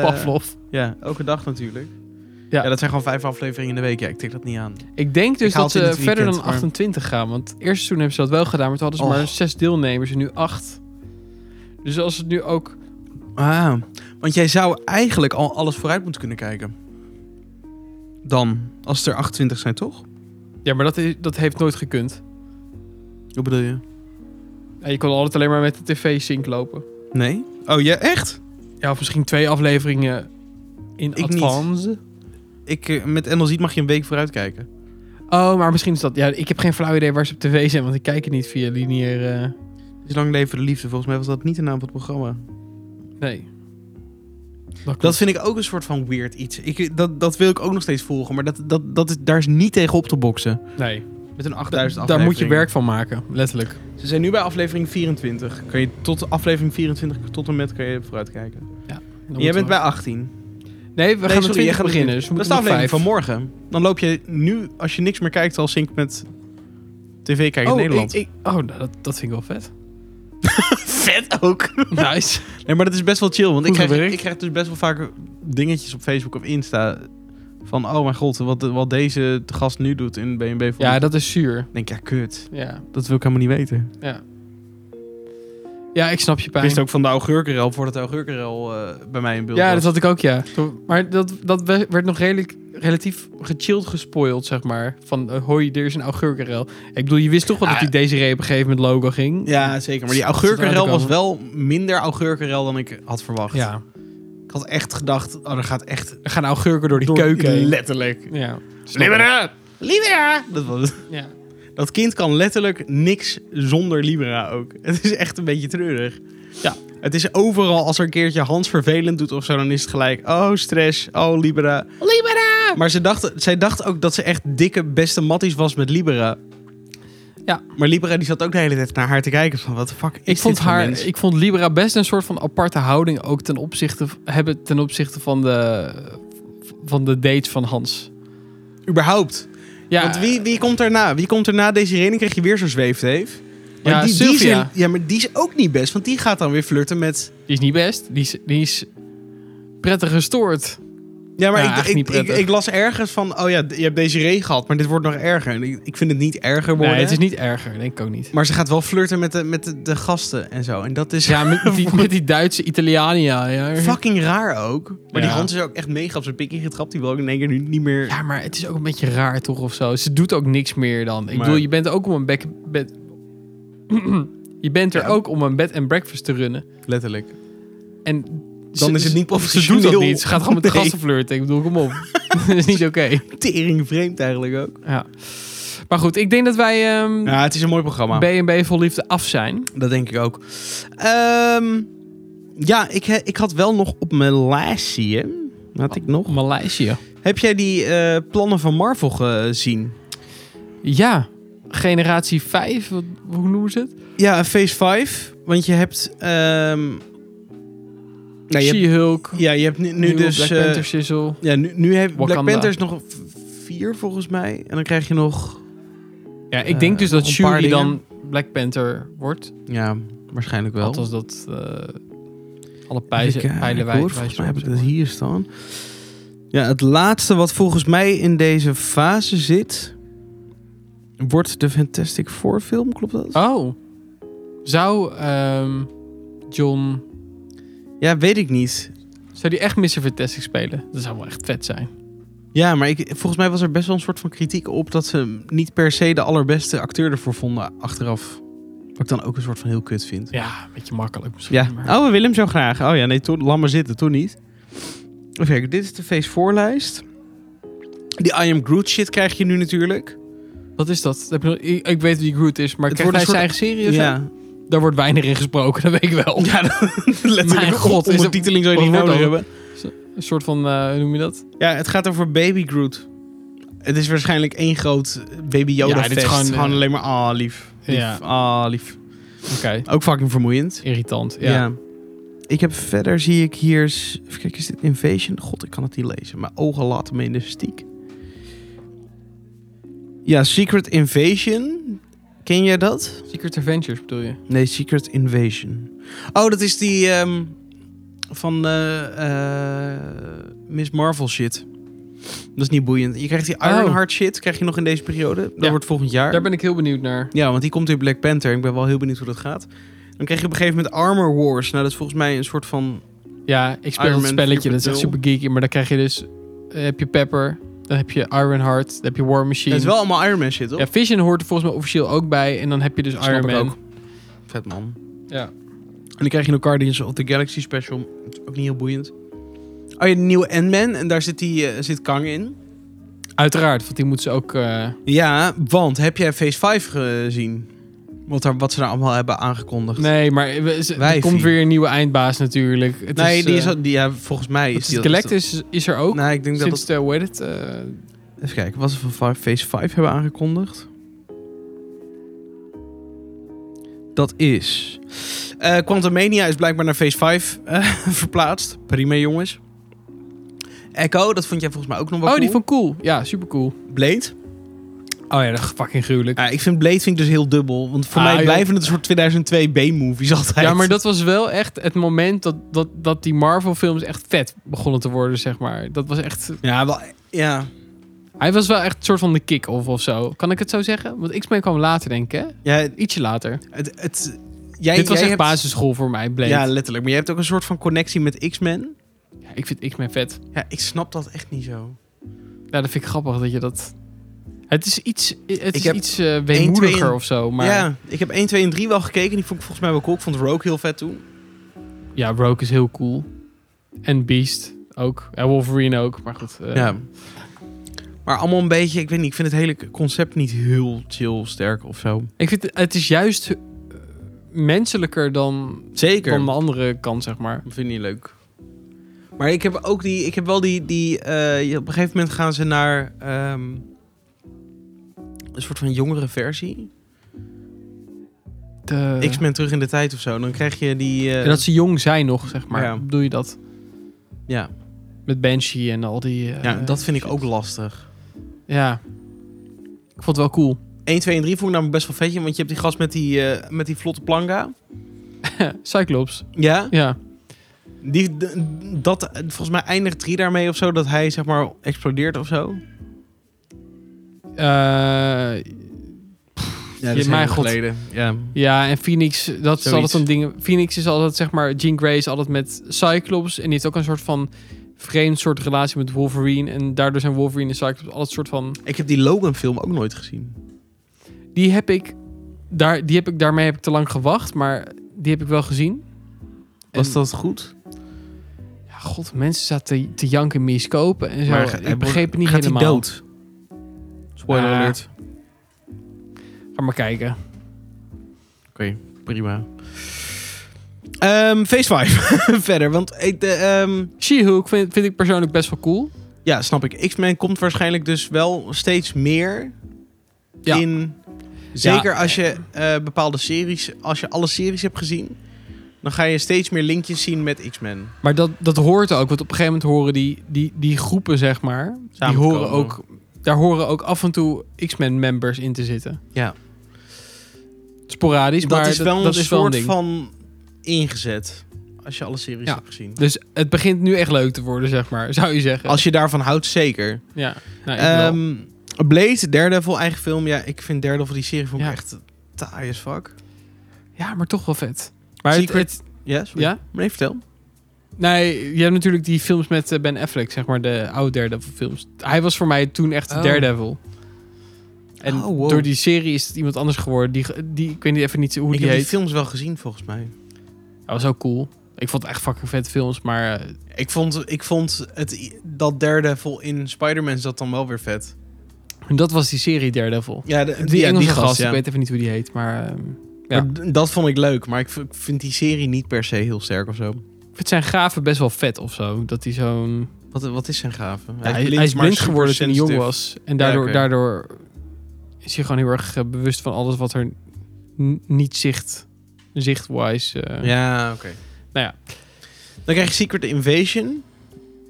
[SPEAKER 2] Pavlov.
[SPEAKER 1] Ja, elke dag natuurlijk.
[SPEAKER 2] Ja.
[SPEAKER 1] Ja. dat zijn gewoon vijf afleveringen in de week. Ja, ik tik dat niet aan.
[SPEAKER 2] Ik denk dus
[SPEAKER 1] Ik haal
[SPEAKER 2] dat
[SPEAKER 1] het in
[SPEAKER 2] ze
[SPEAKER 1] het weekend,
[SPEAKER 2] verder dan
[SPEAKER 1] maar-
[SPEAKER 2] 28 gaan. Want het eerste seizoen hebben ze dat wel gedaan, maar toen hadden ze maar
[SPEAKER 1] Och.
[SPEAKER 2] zes deelnemers en nu acht. Dus als het nu ook...
[SPEAKER 1] Ah, want jij zou eigenlijk al alles vooruit moeten kunnen kijken. Dan, als het er 28 zijn, toch?
[SPEAKER 2] Ja, maar dat, is, dat heeft nooit gekund.
[SPEAKER 1] Hoe bedoel je?
[SPEAKER 2] En je kon altijd alleen maar met de tv-sync lopen.
[SPEAKER 1] Nee? Oh, ja, echt?
[SPEAKER 2] Ja, of misschien twee afleveringen in
[SPEAKER 1] Ik niet.
[SPEAKER 2] advance.
[SPEAKER 1] Ik, eh, met NL Ziet mag je een week vooruit kijken.
[SPEAKER 2] Oh, maar misschien is dat... Ja, ik heb geen flauw idee waar ze op tv zijn, want ik kijk het niet via lineair... eh,
[SPEAKER 1] Dus lang leven de liefde. Volgens mij was dat niet de naam van het programma.
[SPEAKER 2] nee.
[SPEAKER 1] Dat vind ik ook een soort van weird iets. Ik, dat, dat wil ik ook nog steeds volgen. Maar dat, dat, dat, is- daar is niet tegen op te boksen.
[SPEAKER 2] Nee,
[SPEAKER 1] Met een 8000
[SPEAKER 2] daar,
[SPEAKER 1] aflevering.
[SPEAKER 2] daar moet je werk van maken, letterlijk.
[SPEAKER 1] Ze zijn nu bij aflevering 24. Kan je tot aflevering 24 tot en met kan je vooruit kijken.
[SPEAKER 2] Dan
[SPEAKER 1] Jij
[SPEAKER 2] moeten
[SPEAKER 1] bent
[SPEAKER 2] we-
[SPEAKER 1] bij 18.
[SPEAKER 2] Nee, we
[SPEAKER 1] Nee,
[SPEAKER 2] gaan met
[SPEAKER 1] sorry,
[SPEAKER 2] 20
[SPEAKER 1] jij gaat
[SPEAKER 2] beginnen.
[SPEAKER 1] met-
[SPEAKER 2] Dus we
[SPEAKER 1] dat is de
[SPEAKER 2] moeten nog
[SPEAKER 1] aflevering
[SPEAKER 2] vijf.
[SPEAKER 1] van morgen. Dan loop je nu, als je niks meer kijkt, al sync met tv kijken in Nederland.
[SPEAKER 2] Ik, ik- oh, nou, dat, dat vind ik wel vet.
[SPEAKER 1] [laughs] Vet ook.
[SPEAKER 2] Nice.
[SPEAKER 1] Nee, maar dat is best wel chill. Want ik
[SPEAKER 2] Goed
[SPEAKER 1] krijg,
[SPEAKER 2] gewerkt.
[SPEAKER 1] ik krijg dus best wel vaak dingetjes op Facebook of Insta. Van, oh mijn god, wat, wat deze gast nu doet in BNB. voor-
[SPEAKER 2] ja, dat is zuur.
[SPEAKER 1] Ik denk, ja kut.
[SPEAKER 2] Ja,
[SPEAKER 1] Dat wil ik helemaal niet weten.
[SPEAKER 2] ja ik snap je
[SPEAKER 1] Ik
[SPEAKER 2] pijn.
[SPEAKER 1] wist ook van de augurkenrel voordat de augurkenrel eh, bij mij in beeld
[SPEAKER 2] ja,
[SPEAKER 1] was.
[SPEAKER 2] dat had ik ook, ja. Maar dat, dat we- werd nog redelijk, relatief gechilled gespoild, zeg maar. Van, eh, hoi, er is een augurkenrel. Ik bedoel, je wist toch wel
[SPEAKER 1] Ah.
[SPEAKER 2] dat die Desiree op een gegeven moment logo ging?
[SPEAKER 1] Ja, zeker. Maar die
[SPEAKER 2] Dat is het
[SPEAKER 1] augurkenrel was
[SPEAKER 2] uitkomen.
[SPEAKER 1] wel minder augurkenrel dan ik had verwacht.
[SPEAKER 2] Ja.
[SPEAKER 1] Ik had echt gedacht, oh, er gaat echt
[SPEAKER 2] Er gaan augurken door die
[SPEAKER 1] door-
[SPEAKER 2] keuken. heen.
[SPEAKER 1] Letterlijk.
[SPEAKER 2] ja. Snap ik.
[SPEAKER 1] Libera! Libera! Dat, was,
[SPEAKER 2] Ja.
[SPEAKER 1] dat kind kan letterlijk niks zonder Libera ook. [laughs] Het is echt een beetje treurig.
[SPEAKER 2] Ja.
[SPEAKER 1] Het is overal, als er een keertje Hans vervelend doet of zo, dan is het gelijk, oh stress, oh Libera.
[SPEAKER 2] Ah.
[SPEAKER 1] Libera! Maar ze dacht, zij dacht ook dat ze echt dikke beste matties was met Libera.
[SPEAKER 2] Ja.
[SPEAKER 1] Maar Libera die zat ook de hele tijd naar haar te kijken van, wat de fuck is
[SPEAKER 2] Ik vond,
[SPEAKER 1] dit voor
[SPEAKER 2] haar,
[SPEAKER 1] mens?
[SPEAKER 2] ik vond Libera best een soort van aparte houding ook ten opzichte, hebben ten opzichte van, de, van de dates van Hans.
[SPEAKER 1] Überhaupt.
[SPEAKER 2] Ja,
[SPEAKER 1] Want wie, wie komt daarna? Wie komt daarna? Deze rening krijg je weer zo'n zweefteef. Maar
[SPEAKER 2] ja,
[SPEAKER 1] die, die
[SPEAKER 2] Sylvia.
[SPEAKER 1] zijn- ja, maar die is ook niet best. Want die gaat dan weer flirten met...
[SPEAKER 2] Die is niet best. Die is, die is prettig gestoord.
[SPEAKER 1] Ja, maar
[SPEAKER 2] Ja,
[SPEAKER 1] ik,
[SPEAKER 2] echt
[SPEAKER 1] ik,
[SPEAKER 2] niet
[SPEAKER 1] ik,
[SPEAKER 2] prettig.
[SPEAKER 1] ik las ergens van... Oh ja, d- je hebt deze regen gehad, maar dit wordt nog erger. En ik, ik vind het niet erger worden.
[SPEAKER 2] Nee, het is niet erger. Denk ik ook niet.
[SPEAKER 1] Maar ze gaat wel flirten met de, met de, de gasten en zo. En dat
[SPEAKER 2] [laughs]
[SPEAKER 1] is
[SPEAKER 2] Ja, met die, met die Duitse Italiania. Ja.
[SPEAKER 1] fucking raar ook. Maar die
[SPEAKER 2] Ja.
[SPEAKER 1] Hans is ook echt mega op zijn pikkie getrapt. Die wil ook in één keer nu niet meer...
[SPEAKER 2] ja, maar het is ook een beetje raar toch of zo. Ze doet ook niks meer dan. Ik
[SPEAKER 1] Maar-
[SPEAKER 2] bedoel, je bent ook om een bek, bed... [clears throat] je bent er
[SPEAKER 1] Ja.
[SPEAKER 2] ook om een bed en breakfast te runnen.
[SPEAKER 1] Letterlijk.
[SPEAKER 2] En
[SPEAKER 1] Dan is het niet
[SPEAKER 2] Ze doet dat
[SPEAKER 1] professioneel.
[SPEAKER 2] niet. Ze gaat gewoon [laughs] met de
[SPEAKER 1] Nee.
[SPEAKER 2] gasten flirten. Ik bedoel, kom [laughs] op. dat is niet oké.
[SPEAKER 1] Tering vreemd eigenlijk ook.
[SPEAKER 2] Ja. Maar goed, ik denk dat wij ehm,
[SPEAKER 1] Ja, het is een mooi programma.
[SPEAKER 2] B&B vol liefde af zijn.
[SPEAKER 1] Dat denk ik ook. Ehm, ja, ik, he- ik had wel nog op Maleisië. Had ik nog.
[SPEAKER 2] Maleisië.
[SPEAKER 1] Heb jij die eh, plannen van Marvel gezien?
[SPEAKER 2] Ja, generatie 5, wat, hoe noemen ze het?
[SPEAKER 1] Ja, Phase 5. Want je hebt. ehm, nou, je hebt-
[SPEAKER 2] She-Hulk,
[SPEAKER 1] ja, je hebt nu, nu
[SPEAKER 2] nieuwe
[SPEAKER 1] dus.
[SPEAKER 2] Black
[SPEAKER 1] eh,
[SPEAKER 2] Panther shizzle.
[SPEAKER 1] ja, nu, nu heeft Black
[SPEAKER 2] Wakanda.
[SPEAKER 1] Panther is nog v- vier volgens mij. En dan krijg je nog.
[SPEAKER 2] Ja, ik denk dus dat
[SPEAKER 1] nog een paar
[SPEAKER 2] Shuri dan
[SPEAKER 1] dingen.
[SPEAKER 2] Black Panther wordt.
[SPEAKER 1] Ja, waarschijnlijk wel.
[SPEAKER 2] Althans dat eh, alle
[SPEAKER 1] Even
[SPEAKER 2] pijzen,
[SPEAKER 1] kijken
[SPEAKER 2] pijlen wij.
[SPEAKER 1] hoor, volgens mij heb ik dat hier staan. Ja, het laatste wat volgens mij in deze fase zit... wordt de Fantastic Four film, klopt dat?
[SPEAKER 2] Oh, zou ehm, John,
[SPEAKER 1] Ja, weet ik niet.
[SPEAKER 2] zou die echt Mr. Fantastic spelen? Dat zou wel echt vet zijn.
[SPEAKER 1] Ja, maar ik, volgens mij was er best wel een soort van kritiek op... dat ze hem niet per se de allerbeste acteur ervoor vonden achteraf. Wat ik dan ook een soort van heel kut vind.
[SPEAKER 2] Ja, een beetje makkelijk misschien.
[SPEAKER 1] Ja,
[SPEAKER 2] maar-
[SPEAKER 1] oh, we willen hem zo graag. Oh ja, nee, toen, laat maar zitten, toen niet. Even kijken, dit is de Phase 4 lijst. Die I Am Groot shit krijg je nu natuurlijk.
[SPEAKER 2] Wat is dat? Heb je nog- Ik, ik weet wie Groot is, maar
[SPEAKER 1] Het
[SPEAKER 2] het krijgt hij
[SPEAKER 1] wordt
[SPEAKER 2] zijn
[SPEAKER 1] een
[SPEAKER 2] eigen serie? of
[SPEAKER 1] ja.
[SPEAKER 2] zo? [laughs] Daar wordt weinig in gesproken, [laughs] dat weet ik wel.
[SPEAKER 1] Ja, letterlijk.
[SPEAKER 2] Mijn god,
[SPEAKER 1] om,
[SPEAKER 2] is
[SPEAKER 1] een
[SPEAKER 2] het-
[SPEAKER 1] titeling zou je
[SPEAKER 2] wat
[SPEAKER 1] niet nodig
[SPEAKER 2] wordt dat?
[SPEAKER 1] hebben.
[SPEAKER 2] Een soort van, eh, hoe noem je dat?
[SPEAKER 1] Ja, het gaat over Baby Groot. Het is waarschijnlijk één groot Baby Yoda
[SPEAKER 2] Ja, dit is
[SPEAKER 1] fest.
[SPEAKER 2] gewoon,
[SPEAKER 1] Gewoon,
[SPEAKER 2] eh,
[SPEAKER 1] alleen maar, ah, lief. lief
[SPEAKER 2] Ja.
[SPEAKER 1] Ah, lief.
[SPEAKER 2] Oké,
[SPEAKER 1] Ook fucking vermoeiend.
[SPEAKER 2] irritant.
[SPEAKER 1] Ja.
[SPEAKER 2] Ja.
[SPEAKER 1] Ik heb verder, zie ik hier... s- Even kijken, is dit Invasion? God, ik kan het niet lezen. Mijn ogen laten me in de stiek. Ja, Secret Invasion. Ken jij dat?
[SPEAKER 2] Secret Adventures bedoel je?
[SPEAKER 1] Nee, Secret Invasion. Oh, dat is die ehm, van eh, eh, Miss Marvel shit. Dat is niet boeiend. Je krijgt die
[SPEAKER 2] Oh.
[SPEAKER 1] Ironheart shit, krijg je nog in deze periode. Dat
[SPEAKER 2] Ja.
[SPEAKER 1] wordt volgend jaar.
[SPEAKER 2] Daar ben ik heel benieuwd naar.
[SPEAKER 1] Ja, want die komt in Black Panther. Ik ben wel heel benieuwd hoe dat gaat. Dan krijg je op een gegeven moment Armor Wars. Nou, dat is volgens mij een soort van...
[SPEAKER 2] Ja, ik speel
[SPEAKER 1] Iron
[SPEAKER 2] dat
[SPEAKER 1] Man
[SPEAKER 2] spelletje, dat is echt
[SPEAKER 1] 4.0.
[SPEAKER 2] super geeky. Maar dan krijg je dus, eh, heb je Pepper, dan heb je Ironheart, dan heb je War Machine.
[SPEAKER 1] Het is wel allemaal Iron Man shit, toch?
[SPEAKER 2] Ja, Vision hoort er volgens mij officieel ook bij. En dan heb je dus
[SPEAKER 1] Snap
[SPEAKER 2] Iron
[SPEAKER 1] ik
[SPEAKER 2] Man.
[SPEAKER 1] ook. Vet man.
[SPEAKER 2] Ja.
[SPEAKER 1] En dan krijg je nog Guardians of the Galaxy special. Dat is ook niet heel boeiend. Oh ja, de nieuwe Ant-Man. En daar zit, die, eh, zit Kang in.
[SPEAKER 2] Uiteraard, want die moeten ze ook... eh,
[SPEAKER 1] Ja, want heb jij Phase 5 gezien? Wat, daar, wat ze daar allemaal hebben aangekondigd.
[SPEAKER 2] Nee, maar we- ze- er
[SPEAKER 1] Wijfie.
[SPEAKER 2] komt weer een nieuwe eindbaas natuurlijk. Het
[SPEAKER 1] Nee, die is...
[SPEAKER 2] eh,
[SPEAKER 1] al- die, ja, volgens mij
[SPEAKER 2] wat
[SPEAKER 1] is
[SPEAKER 2] is
[SPEAKER 1] die...
[SPEAKER 2] het
[SPEAKER 1] al-
[SPEAKER 2] Galactus is er ook.
[SPEAKER 1] Nee, ik denk dat...
[SPEAKER 2] Sinds
[SPEAKER 1] dat-
[SPEAKER 2] de, hoe heet het? eh,
[SPEAKER 1] Even kijken, wat ze van va- Phase 5 hebben aangekondigd. Dat is... eh Quantumania is blijkbaar naar Phase 5 eh, [laughs] verplaatst. Prima, jongens. Echo, dat vond jij volgens mij ook nog wel
[SPEAKER 2] oh,
[SPEAKER 1] cool.
[SPEAKER 2] die van Cool. Ja, super cool.
[SPEAKER 1] Blade.
[SPEAKER 2] Oh ja, dat is fucking gruwelijk.
[SPEAKER 1] Ja, ik vind Blade vind ik dus heel dubbel. Want voor
[SPEAKER 2] Ah,
[SPEAKER 1] mij
[SPEAKER 2] joh.
[SPEAKER 1] blijven het een soort 2002 B-movies [laughs] altijd.
[SPEAKER 2] Ja, maar dat was wel echt het moment dat, dat, dat die Marvel-films echt vet begonnen te worden, zeg maar. Dat was echt...
[SPEAKER 1] Ja, wel, ja.
[SPEAKER 2] Hij was wel echt een soort van de kick-off of zo. Kan ik het zo zeggen? Want X-Men kwam later, denk ik, hè?
[SPEAKER 1] ja
[SPEAKER 2] Ietsje later.
[SPEAKER 1] het, het, jij,
[SPEAKER 2] Dit was
[SPEAKER 1] jij
[SPEAKER 2] echt
[SPEAKER 1] hebt-
[SPEAKER 2] basisschool voor mij, Blade.
[SPEAKER 1] Ja, letterlijk. Maar jij hebt ook een soort van connectie met X-Men.
[SPEAKER 2] Ja, ik vind X-Men vet.
[SPEAKER 1] Ja, ik snap dat echt niet zo.
[SPEAKER 2] Ja, dat vind ik grappig dat je dat... Het is iets, het is
[SPEAKER 1] heb
[SPEAKER 2] iets eh, weemoediger
[SPEAKER 1] en-
[SPEAKER 2] of zo, maar...
[SPEAKER 1] Ja, ik heb 1, 2 en 3 wel gekeken. Die vond ik volgens mij wel cool. Ik vond Rogue heel vet toen.
[SPEAKER 2] Ja, Rogue is heel cool. En Beast ook. En Wolverine ook, maar goed. eh,
[SPEAKER 1] Ja. Maar allemaal een beetje... Ik weet niet, ik vind het hele concept niet heel chill sterk of zo.
[SPEAKER 2] Ik vind het- het is juist eh, menselijker dan,
[SPEAKER 1] Zeker.
[SPEAKER 2] dan de andere kant, zeg maar.
[SPEAKER 1] Dat vind ik niet leuk. Maar ik heb ook die, ik heb wel die, die eh, op een gegeven moment gaan ze naar ehm, een soort van jongere versie.
[SPEAKER 2] De-
[SPEAKER 1] X-Men terug in de tijd of zo. Dan krijg je die, eh,
[SPEAKER 2] Ja, Dat ze jong zijn nog, zeg maar.
[SPEAKER 1] Ja.
[SPEAKER 2] Bedoel je dat?
[SPEAKER 1] ja,
[SPEAKER 2] Met Banshee en al die... eh,
[SPEAKER 1] ja, dat vind ik ook lastig.
[SPEAKER 2] Ja. Ik vond het wel cool. [laughs]
[SPEAKER 1] 1, 2 en 3 vond ik namelijk best wel vetje, want je hebt die gast met die, eh, met die vlotte planga.
[SPEAKER 2] Cyclops.
[SPEAKER 1] Ja,
[SPEAKER 2] Ja.
[SPEAKER 1] die, d- dat, volgens mij eindigt 3 daarmee of zo, dat hij zeg maar explodeert of zo.
[SPEAKER 2] Eh,
[SPEAKER 1] Ja,
[SPEAKER 2] dat is heel lang
[SPEAKER 1] geleden. Ja.
[SPEAKER 2] ja, en Phoenix, dat is
[SPEAKER 1] Zoiets.
[SPEAKER 2] altijd zo'n ding. Phoenix is altijd, zeg maar, Jean Grey is altijd met Cyclops. En die heeft ook een soort van vreemd soort relatie met Wolverine. En daardoor zijn Wolverine en Cyclops altijd soort van...
[SPEAKER 1] Ik heb die Logan film ook nooit gezien.
[SPEAKER 2] Die heb ik, daar, die heb ik daarmee heb ik te lang gewacht, maar die heb ik wel gezien.
[SPEAKER 1] Was
[SPEAKER 2] En-
[SPEAKER 1] dat goed?
[SPEAKER 2] Ja, god, mensen zaten te, te janken miskopen en zo.
[SPEAKER 1] Maar ga- hij
[SPEAKER 2] ik begreep het niet
[SPEAKER 1] gaat hij
[SPEAKER 2] helemaal.
[SPEAKER 1] dood? Spoiler
[SPEAKER 2] Ah.
[SPEAKER 1] alert.
[SPEAKER 2] Ga maar kijken.
[SPEAKER 1] Prima. Ehm phase 5. [laughs] Verder, want ik, de, ehm,
[SPEAKER 2] She-Hulk vind, vind ik persoonlijk best wel cool.
[SPEAKER 1] ja, snap ik. X-Men komt waarschijnlijk dus wel steeds meer
[SPEAKER 2] Ja.
[SPEAKER 1] in. Zeker als je eh, bepaalde series, als je alle series hebt gezien, dan ga je steeds meer linkjes zien met X-Men.
[SPEAKER 2] Maar dat, dat hoort ook, want op een gegeven moment horen die, die, die groepen, zeg maar, die
[SPEAKER 1] Samen te
[SPEAKER 2] horen
[SPEAKER 1] komen.
[SPEAKER 2] ook, daar horen ook af en toe X-Men members in te zitten.
[SPEAKER 1] Ja.
[SPEAKER 2] Sporadisch,
[SPEAKER 1] dat
[SPEAKER 2] maar
[SPEAKER 1] is wel een
[SPEAKER 2] dat is wel een
[SPEAKER 1] soort
[SPEAKER 2] ding.
[SPEAKER 1] van ingezet als je alle series
[SPEAKER 2] Ja.
[SPEAKER 1] hebt gezien.
[SPEAKER 2] Dus het begint nu echt leuk te worden, zeg maar, zou je zeggen.
[SPEAKER 1] Als je daarvan houdt, zeker.
[SPEAKER 2] Ja, nou, ik wel.
[SPEAKER 1] Ehm Blade, Daredevil, eigen film. Ja, ik vind Daredevil, die serie vond ik
[SPEAKER 2] Ja.
[SPEAKER 1] echt taai as fuck.
[SPEAKER 2] ja, maar toch wel vet. Maar het,
[SPEAKER 1] Secret-
[SPEAKER 2] het-
[SPEAKER 1] Ja, sorry.
[SPEAKER 2] ja?
[SPEAKER 1] Nee, vertel.
[SPEAKER 2] Nee, je hebt natuurlijk die films met eh, Ben Affleck, zeg maar, de oude Daredevil films. Hij was voor mij toen echt
[SPEAKER 1] Oh.
[SPEAKER 2] Daredevil. En
[SPEAKER 1] Oh, wow.
[SPEAKER 2] door die serie is het iemand anders geworden. Die, ge- die, ik weet niet even niet hoe
[SPEAKER 1] ik
[SPEAKER 2] die
[SPEAKER 1] heb die
[SPEAKER 2] heet.
[SPEAKER 1] films wel gezien, volgens mij.
[SPEAKER 2] Dat was ook cool. Ik vond het echt fucking vet films, maar eh,
[SPEAKER 1] Ik vond, ik vond het, i- dat Daredevil in Spider-Man zat dan wel weer vet.
[SPEAKER 2] dat was die serie Daredevil.
[SPEAKER 1] Ja, de-
[SPEAKER 2] Die
[SPEAKER 1] ja,
[SPEAKER 2] Engelse gast,
[SPEAKER 1] ja.
[SPEAKER 2] ik weet even niet hoe die heet, maar eh, ja.
[SPEAKER 1] Maar d- dat vond ik leuk, maar ik v- ik vind die serie niet per se heel sterk of zo.
[SPEAKER 2] ik vind zijn graven best wel vet of zo. Dat hij zo'n...
[SPEAKER 1] Wat, wat is zijn gave?
[SPEAKER 2] Ja, hij, hij is
[SPEAKER 1] maar
[SPEAKER 2] blind
[SPEAKER 1] super
[SPEAKER 2] geworden toen hij jong
[SPEAKER 1] sensitief.
[SPEAKER 2] was. En daardoor,
[SPEAKER 1] oké.
[SPEAKER 2] daardoor is hij gewoon heel erg eh, bewust van alles wat er n- niet zicht, zichtwise... eh,
[SPEAKER 1] Ja, oké.
[SPEAKER 2] Nou ja.
[SPEAKER 1] Dan krijg je Secret Invasion.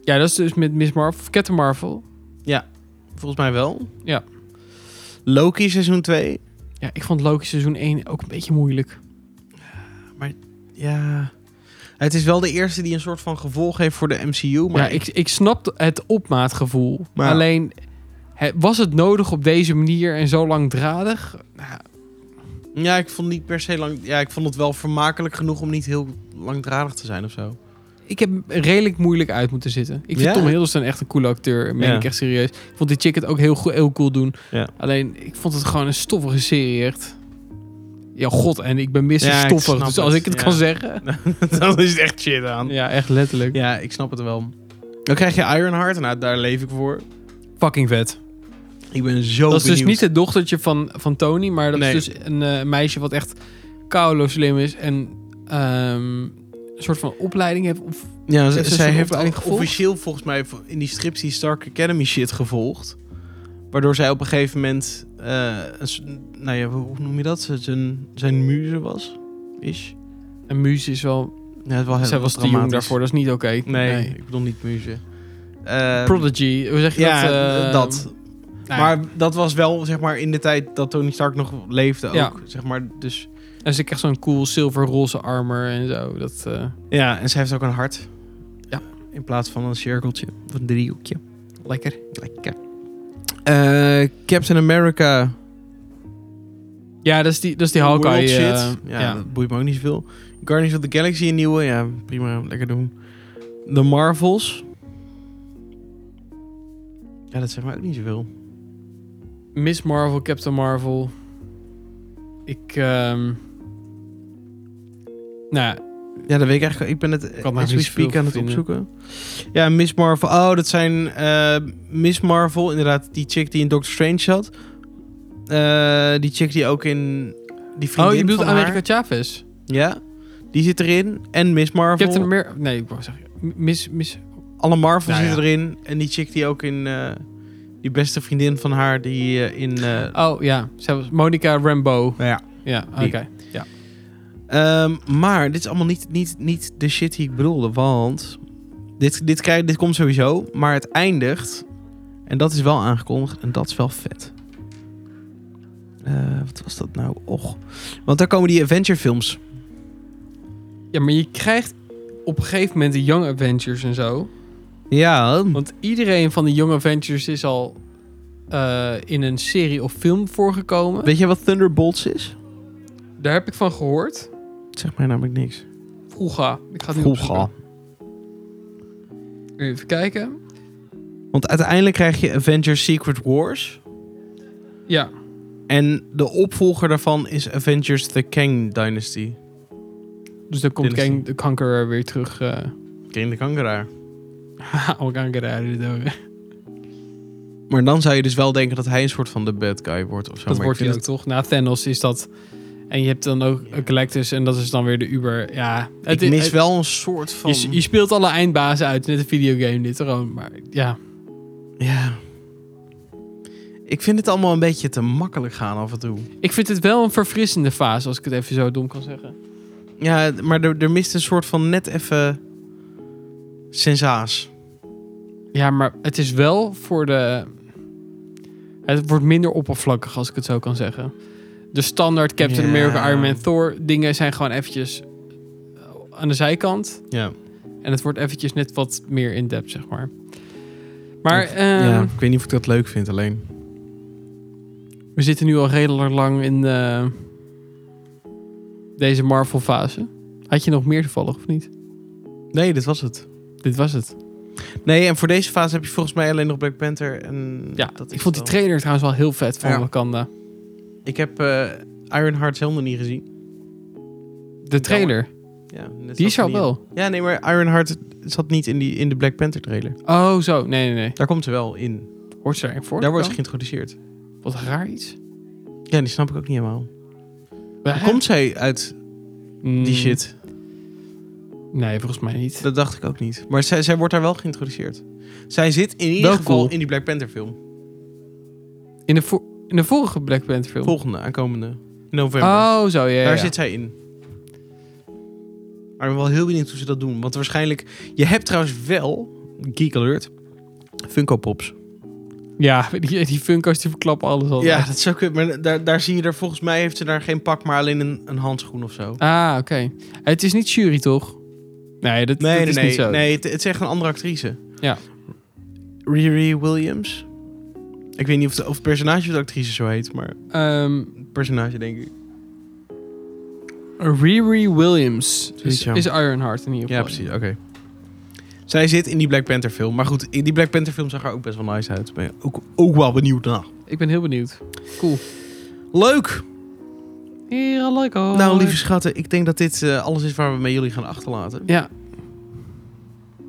[SPEAKER 2] Ja, dat is dus met Miss Marvel of Captain Marvel.
[SPEAKER 1] Volgens mij wel.
[SPEAKER 2] Ja.
[SPEAKER 1] Loki seizoen 2.
[SPEAKER 2] Ja, ik vond Loki seizoen 1 ook een beetje moeilijk.
[SPEAKER 1] Ja. Het is wel de eerste die een soort van gevolg heeft voor de MCU. Maar
[SPEAKER 2] Maar ja, ik, ik snap het opmaatgevoel.
[SPEAKER 1] Maar-
[SPEAKER 2] Alleen, hè, was het nodig op deze manier en zo langdradig? Nou,
[SPEAKER 1] Ja, ik vond niet per se lang. Ja, ik vond het wel vermakelijk genoeg om niet heel langdradig te zijn of zo.
[SPEAKER 2] ik heb redelijk moeilijk uit moeten zitten. Ik vind
[SPEAKER 1] Ja?
[SPEAKER 2] Tom Hiddleston echt een coole acteur. Meen
[SPEAKER 1] Ja.
[SPEAKER 2] ik echt serieus. Ik vond die chick het ook heel, go- heel cool doen.
[SPEAKER 1] Ja.
[SPEAKER 2] Alleen, ik vond het gewoon een stoffige serie echt. Ja, god, en ik ben missen
[SPEAKER 1] Ja, ik
[SPEAKER 2] stoffig.
[SPEAKER 1] snap
[SPEAKER 2] Dus als
[SPEAKER 1] het,
[SPEAKER 2] ik het
[SPEAKER 1] ja.
[SPEAKER 2] kan zeggen.
[SPEAKER 1] [laughs] Dan is het echt shit aan. Ja.
[SPEAKER 2] Ja, echt letterlijk.
[SPEAKER 1] ik snap het wel. Dan krijg je Ironheart. Nou, daar leef ik voor.
[SPEAKER 2] Fucking vet.
[SPEAKER 1] Ik ben zo
[SPEAKER 2] dat is dus
[SPEAKER 1] benieuwd.
[SPEAKER 2] niet het dochtertje van, van Tony, maar dat
[SPEAKER 1] Nee.
[SPEAKER 2] is dus een eh, meisje wat echt koulo slim is en ehm, een soort van opleiding heeft. Of,
[SPEAKER 1] Ja, z-
[SPEAKER 2] Heeft ze
[SPEAKER 1] zij
[SPEAKER 2] zo'n
[SPEAKER 1] heeft
[SPEAKER 2] dus opleiding
[SPEAKER 1] al
[SPEAKER 2] gevolgd?
[SPEAKER 1] officieel volgens mij vo- in die strips die Stark Academy shit gevolgd. Waardoor zij op een gegeven moment... eh, een s- nou ja, hoe hoe noem je dat? Ze- Zijn, zijn muze was? Is?
[SPEAKER 2] een muze is wel.
[SPEAKER 1] Ja, het is wel heel
[SPEAKER 2] zij was te jong
[SPEAKER 1] dramatisch.
[SPEAKER 2] daarvoor, dat is niet oké.
[SPEAKER 1] Nee, ik bedoel niet muze. Eh,
[SPEAKER 2] Prodigy, hoe zeg je
[SPEAKER 1] ja,
[SPEAKER 2] dat? eh,
[SPEAKER 1] dat.
[SPEAKER 2] nou ja.
[SPEAKER 1] Maar dat was wel, zeg maar, in de tijd dat Tony Stark nog leefde ook,
[SPEAKER 2] Ja.
[SPEAKER 1] zeg maar. Dus,
[SPEAKER 2] En ze krijgt zo'n cool zilverroze armor en zo. Dat, eh,
[SPEAKER 1] ja, en ze heeft ook een hart.
[SPEAKER 2] Ja.
[SPEAKER 1] In plaats van een cirkeltje, of een driehoekje.
[SPEAKER 2] lekker.
[SPEAKER 1] Lekker. Eh, Captain America.
[SPEAKER 2] Ja, dat is die, dat is die Hawkeye.
[SPEAKER 1] World shit.
[SPEAKER 2] eh,
[SPEAKER 1] ja,
[SPEAKER 2] ja,
[SPEAKER 1] dat boeit me ook niet zoveel. Guardians of the Galaxy, een nieuwe. Ja, prima, lekker doen. The Marvels. Ja, dat zegt mij ook niet zoveel.
[SPEAKER 2] Miss Marvel, Captain Marvel. Ik. ehm, nou ja,
[SPEAKER 1] Ja, dat weet ik eigenlijk. Ik ben het
[SPEAKER 2] Kan
[SPEAKER 1] eh,
[SPEAKER 2] daar
[SPEAKER 1] as we
[SPEAKER 2] niet zoveel
[SPEAKER 1] speak aan het
[SPEAKER 2] van vinden.
[SPEAKER 1] opzoeken. Ja, Miss Marvel. Oh, dat zijn eh, Miss Marvel. Inderdaad, die chick die in Doctor Strange zat. Eh, die chick die ook in... Die vriendin
[SPEAKER 2] oh, je bedoelt
[SPEAKER 1] van haar.
[SPEAKER 2] America Chavez?
[SPEAKER 1] Ja, die zit erin. En Miss Marvel.
[SPEAKER 2] Captain America. Nee, ik wou zeggen. Miss, miss.
[SPEAKER 1] Alle Marvel
[SPEAKER 2] Nou ja.
[SPEAKER 1] zitten erin. En die chick die ook in... eh, die beste vriendin van haar die eh, in... eh,
[SPEAKER 2] Oh ja, zij was Monica Rambo.
[SPEAKER 1] nou ja.
[SPEAKER 2] Ja, oké.
[SPEAKER 1] Die. Ehm, maar dit is allemaal niet, niet, niet de shit die ik bedoelde. Want dit, dit, krijg, dit komt sowieso, maar het eindigt. En dat is wel aangekondigd en dat is wel vet. Eh, wat was dat nou? Och. Want daar komen die adventure films.
[SPEAKER 2] Ja, maar je krijgt op een gegeven moment de Young Avengers en zo.
[SPEAKER 1] Ja.
[SPEAKER 2] Want iedereen van de Young Avengers is al eh, in een serie of film voorgekomen.
[SPEAKER 1] Weet jij wat Thunderbolts is?
[SPEAKER 2] Daar heb ik van gehoord.
[SPEAKER 1] Het zegt mij namelijk niks.
[SPEAKER 2] Vroeger. Ik ga het nu
[SPEAKER 1] Vroeger.
[SPEAKER 2] opzoeken. Even kijken.
[SPEAKER 1] Want uiteindelijk krijg je Avengers Secret Wars.
[SPEAKER 2] Ja.
[SPEAKER 1] En de opvolger daarvan is Avengers The Kang Dynasty.
[SPEAKER 2] Dus dan komt
[SPEAKER 1] Dit is-
[SPEAKER 2] Kang de kanker weer terug. eh [laughs]
[SPEAKER 1] King de Kangeraar.
[SPEAKER 2] ook kanker uit de dood.
[SPEAKER 1] Maar dan zou je dus wel denken dat hij een soort van de bad guy wordt of zo.
[SPEAKER 2] Dat
[SPEAKER 1] maar
[SPEAKER 2] wordt
[SPEAKER 1] ik
[SPEAKER 2] hij
[SPEAKER 1] vind
[SPEAKER 2] ook toch? Na Thanos is dat. En je hebt dan ook
[SPEAKER 1] Ja.
[SPEAKER 2] Galactus en dat is dan weer de Uber. Ja,
[SPEAKER 1] Het,
[SPEAKER 2] het
[SPEAKER 1] ik
[SPEAKER 2] is
[SPEAKER 1] mis wel een soort van...
[SPEAKER 2] Je, je speelt alle eindbazen uit, net een videogame dit gewoon. Maar ja,
[SPEAKER 1] Ja. Ik vind het allemaal een beetje te makkelijk gaan af en toe.
[SPEAKER 2] ik vind het wel een verfrissende fase, als ik het even zo dom kan zeggen.
[SPEAKER 1] Ja, maar er, er mist een soort van net even... Sensaas.
[SPEAKER 2] Ja, maar het is wel voor de... Het wordt minder oppervlakkig, als ik het zo kan zeggen. De standaard
[SPEAKER 1] Ja.
[SPEAKER 2] Captain America, Iron Man, Thor dingen zijn gewoon eventjes eh, aan de zijkant.
[SPEAKER 1] Ja.
[SPEAKER 2] En het wordt eventjes net wat meer in-depth, zeg maar. Maar
[SPEAKER 1] Of-
[SPEAKER 2] eh,
[SPEAKER 1] ja. Ik weet niet of ik dat leuk vind alleen.
[SPEAKER 2] we zitten nu al redelijk lang in eh, deze Marvel-fase. Had je nog meer toevallig, of niet?
[SPEAKER 1] Nee, dit was het.
[SPEAKER 2] Dit was het.
[SPEAKER 1] Nee, en voor deze fase heb je volgens mij alleen nog Black Panther. En
[SPEAKER 2] Ja,
[SPEAKER 1] dat
[SPEAKER 2] ik
[SPEAKER 1] is
[SPEAKER 2] vond die
[SPEAKER 1] het
[SPEAKER 2] trainer trouwens wel heel vet van
[SPEAKER 1] Ja.
[SPEAKER 2] Wakanda.
[SPEAKER 1] al. Ik heb eh Ironheart helemaal niet gezien.
[SPEAKER 2] De trailer,
[SPEAKER 1] Ja, net
[SPEAKER 2] die
[SPEAKER 1] zat
[SPEAKER 2] is al
[SPEAKER 1] er niet
[SPEAKER 2] wel.
[SPEAKER 1] in. Ja, nee, maar Ironheart zat niet in, die, in de Black Panther trailer.
[SPEAKER 2] Oh, zo. Nee, nee, nee.
[SPEAKER 1] Daar komt ze wel in.
[SPEAKER 2] Hoort ze erin voor?
[SPEAKER 1] Daar wordt ze geïntroduceerd.
[SPEAKER 2] Wat raar iets.
[SPEAKER 1] Ja, die snap ik ook niet helemaal.
[SPEAKER 2] Waar Hmm.
[SPEAKER 1] Komt zij uit die shit?
[SPEAKER 2] Nee, volgens mij niet.
[SPEAKER 1] Dat dacht ik ook niet. Maar zij, zij wordt daar wel geïntroduceerd. Zij zit in ieder
[SPEAKER 2] Wel
[SPEAKER 1] geval
[SPEAKER 2] cool.
[SPEAKER 1] in die Black Panther film.
[SPEAKER 2] In de, vo- in de vorige Black Panther film.
[SPEAKER 1] Volgende, aankomende. November.
[SPEAKER 2] Oh, zo, ja.
[SPEAKER 1] daar
[SPEAKER 2] ja.
[SPEAKER 1] zit zij in. Maar ik ben wel heel benieuwd hoe ze dat doen. Want waarschijnlijk... Je hebt trouwens wel, geek alert, Funko Pops.
[SPEAKER 2] Ja, [laughs] die, die Funko's die verklappen alles al.
[SPEAKER 1] Ja, dat is ook... Maar daar, daar zie je er... Volgens mij heeft ze daar geen pak, maar alleen een, een handschoen of zo.
[SPEAKER 2] Ah, oké. Het is niet jury, toch? Nee, dat,
[SPEAKER 1] Nee, nee,
[SPEAKER 2] dat is niet
[SPEAKER 1] nee.
[SPEAKER 2] zo.
[SPEAKER 1] nee het, het is echt een andere actrice.
[SPEAKER 2] Ja.
[SPEAKER 1] Riri Williams. Ik weet niet of, de, of het personage of de actrice zo heet, maar
[SPEAKER 2] Ehm,
[SPEAKER 1] het personage denk ik.
[SPEAKER 2] Riri Williams
[SPEAKER 1] Zoiets,
[SPEAKER 2] is,
[SPEAKER 1] ja.
[SPEAKER 2] is Ironheart in ieder
[SPEAKER 1] Ja,
[SPEAKER 2] geval.
[SPEAKER 1] precies. Oké. Zij zit in die Black Panther film. Maar goed, in die Black Panther film zag haar ook best wel nice uit. Ben je ook, ook wel benieuwd naar.
[SPEAKER 2] Ik ben heel benieuwd. Cool.
[SPEAKER 1] Leuk!
[SPEAKER 2] Hier, I like all.
[SPEAKER 1] Nou, lieve schatten, ik denk dat dit eh, alles is waar we met jullie gaan achterlaten.
[SPEAKER 2] Ja.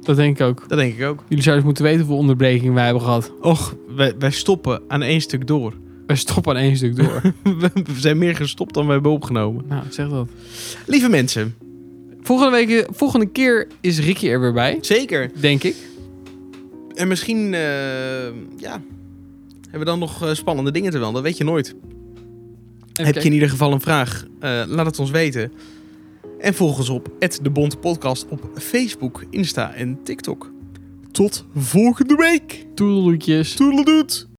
[SPEAKER 2] Dat denk ik ook.
[SPEAKER 1] Dat denk ik ook.
[SPEAKER 2] Jullie zouden eens moeten weten hoeveel onderbrekingen wij hebben gehad.
[SPEAKER 1] Och, wij, wij stoppen aan één stuk door. [laughs]
[SPEAKER 2] Wij stoppen aan één stuk door.
[SPEAKER 1] we zijn meer gestopt dan we hebben opgenomen.
[SPEAKER 2] nou, zeg dat.
[SPEAKER 1] Lieve mensen,
[SPEAKER 2] Volgende, week, eh, volgende keer is Ricky er weer bij.
[SPEAKER 1] zeker.
[SPEAKER 2] Denk ik.
[SPEAKER 1] En misschien, eh, ja, hebben we dan nog eh, spannende dingen te wel. Dat weet je nooit.
[SPEAKER 2] Even
[SPEAKER 1] Heb je in
[SPEAKER 2] kijken.
[SPEAKER 1] ieder geval een vraag? eh, laat het ons weten. En volg ons op de Bond Podcast op Facebook, Insta en TikTok. Tot volgende week.
[SPEAKER 2] Toedeloetjes.
[SPEAKER 1] Toedeledoet.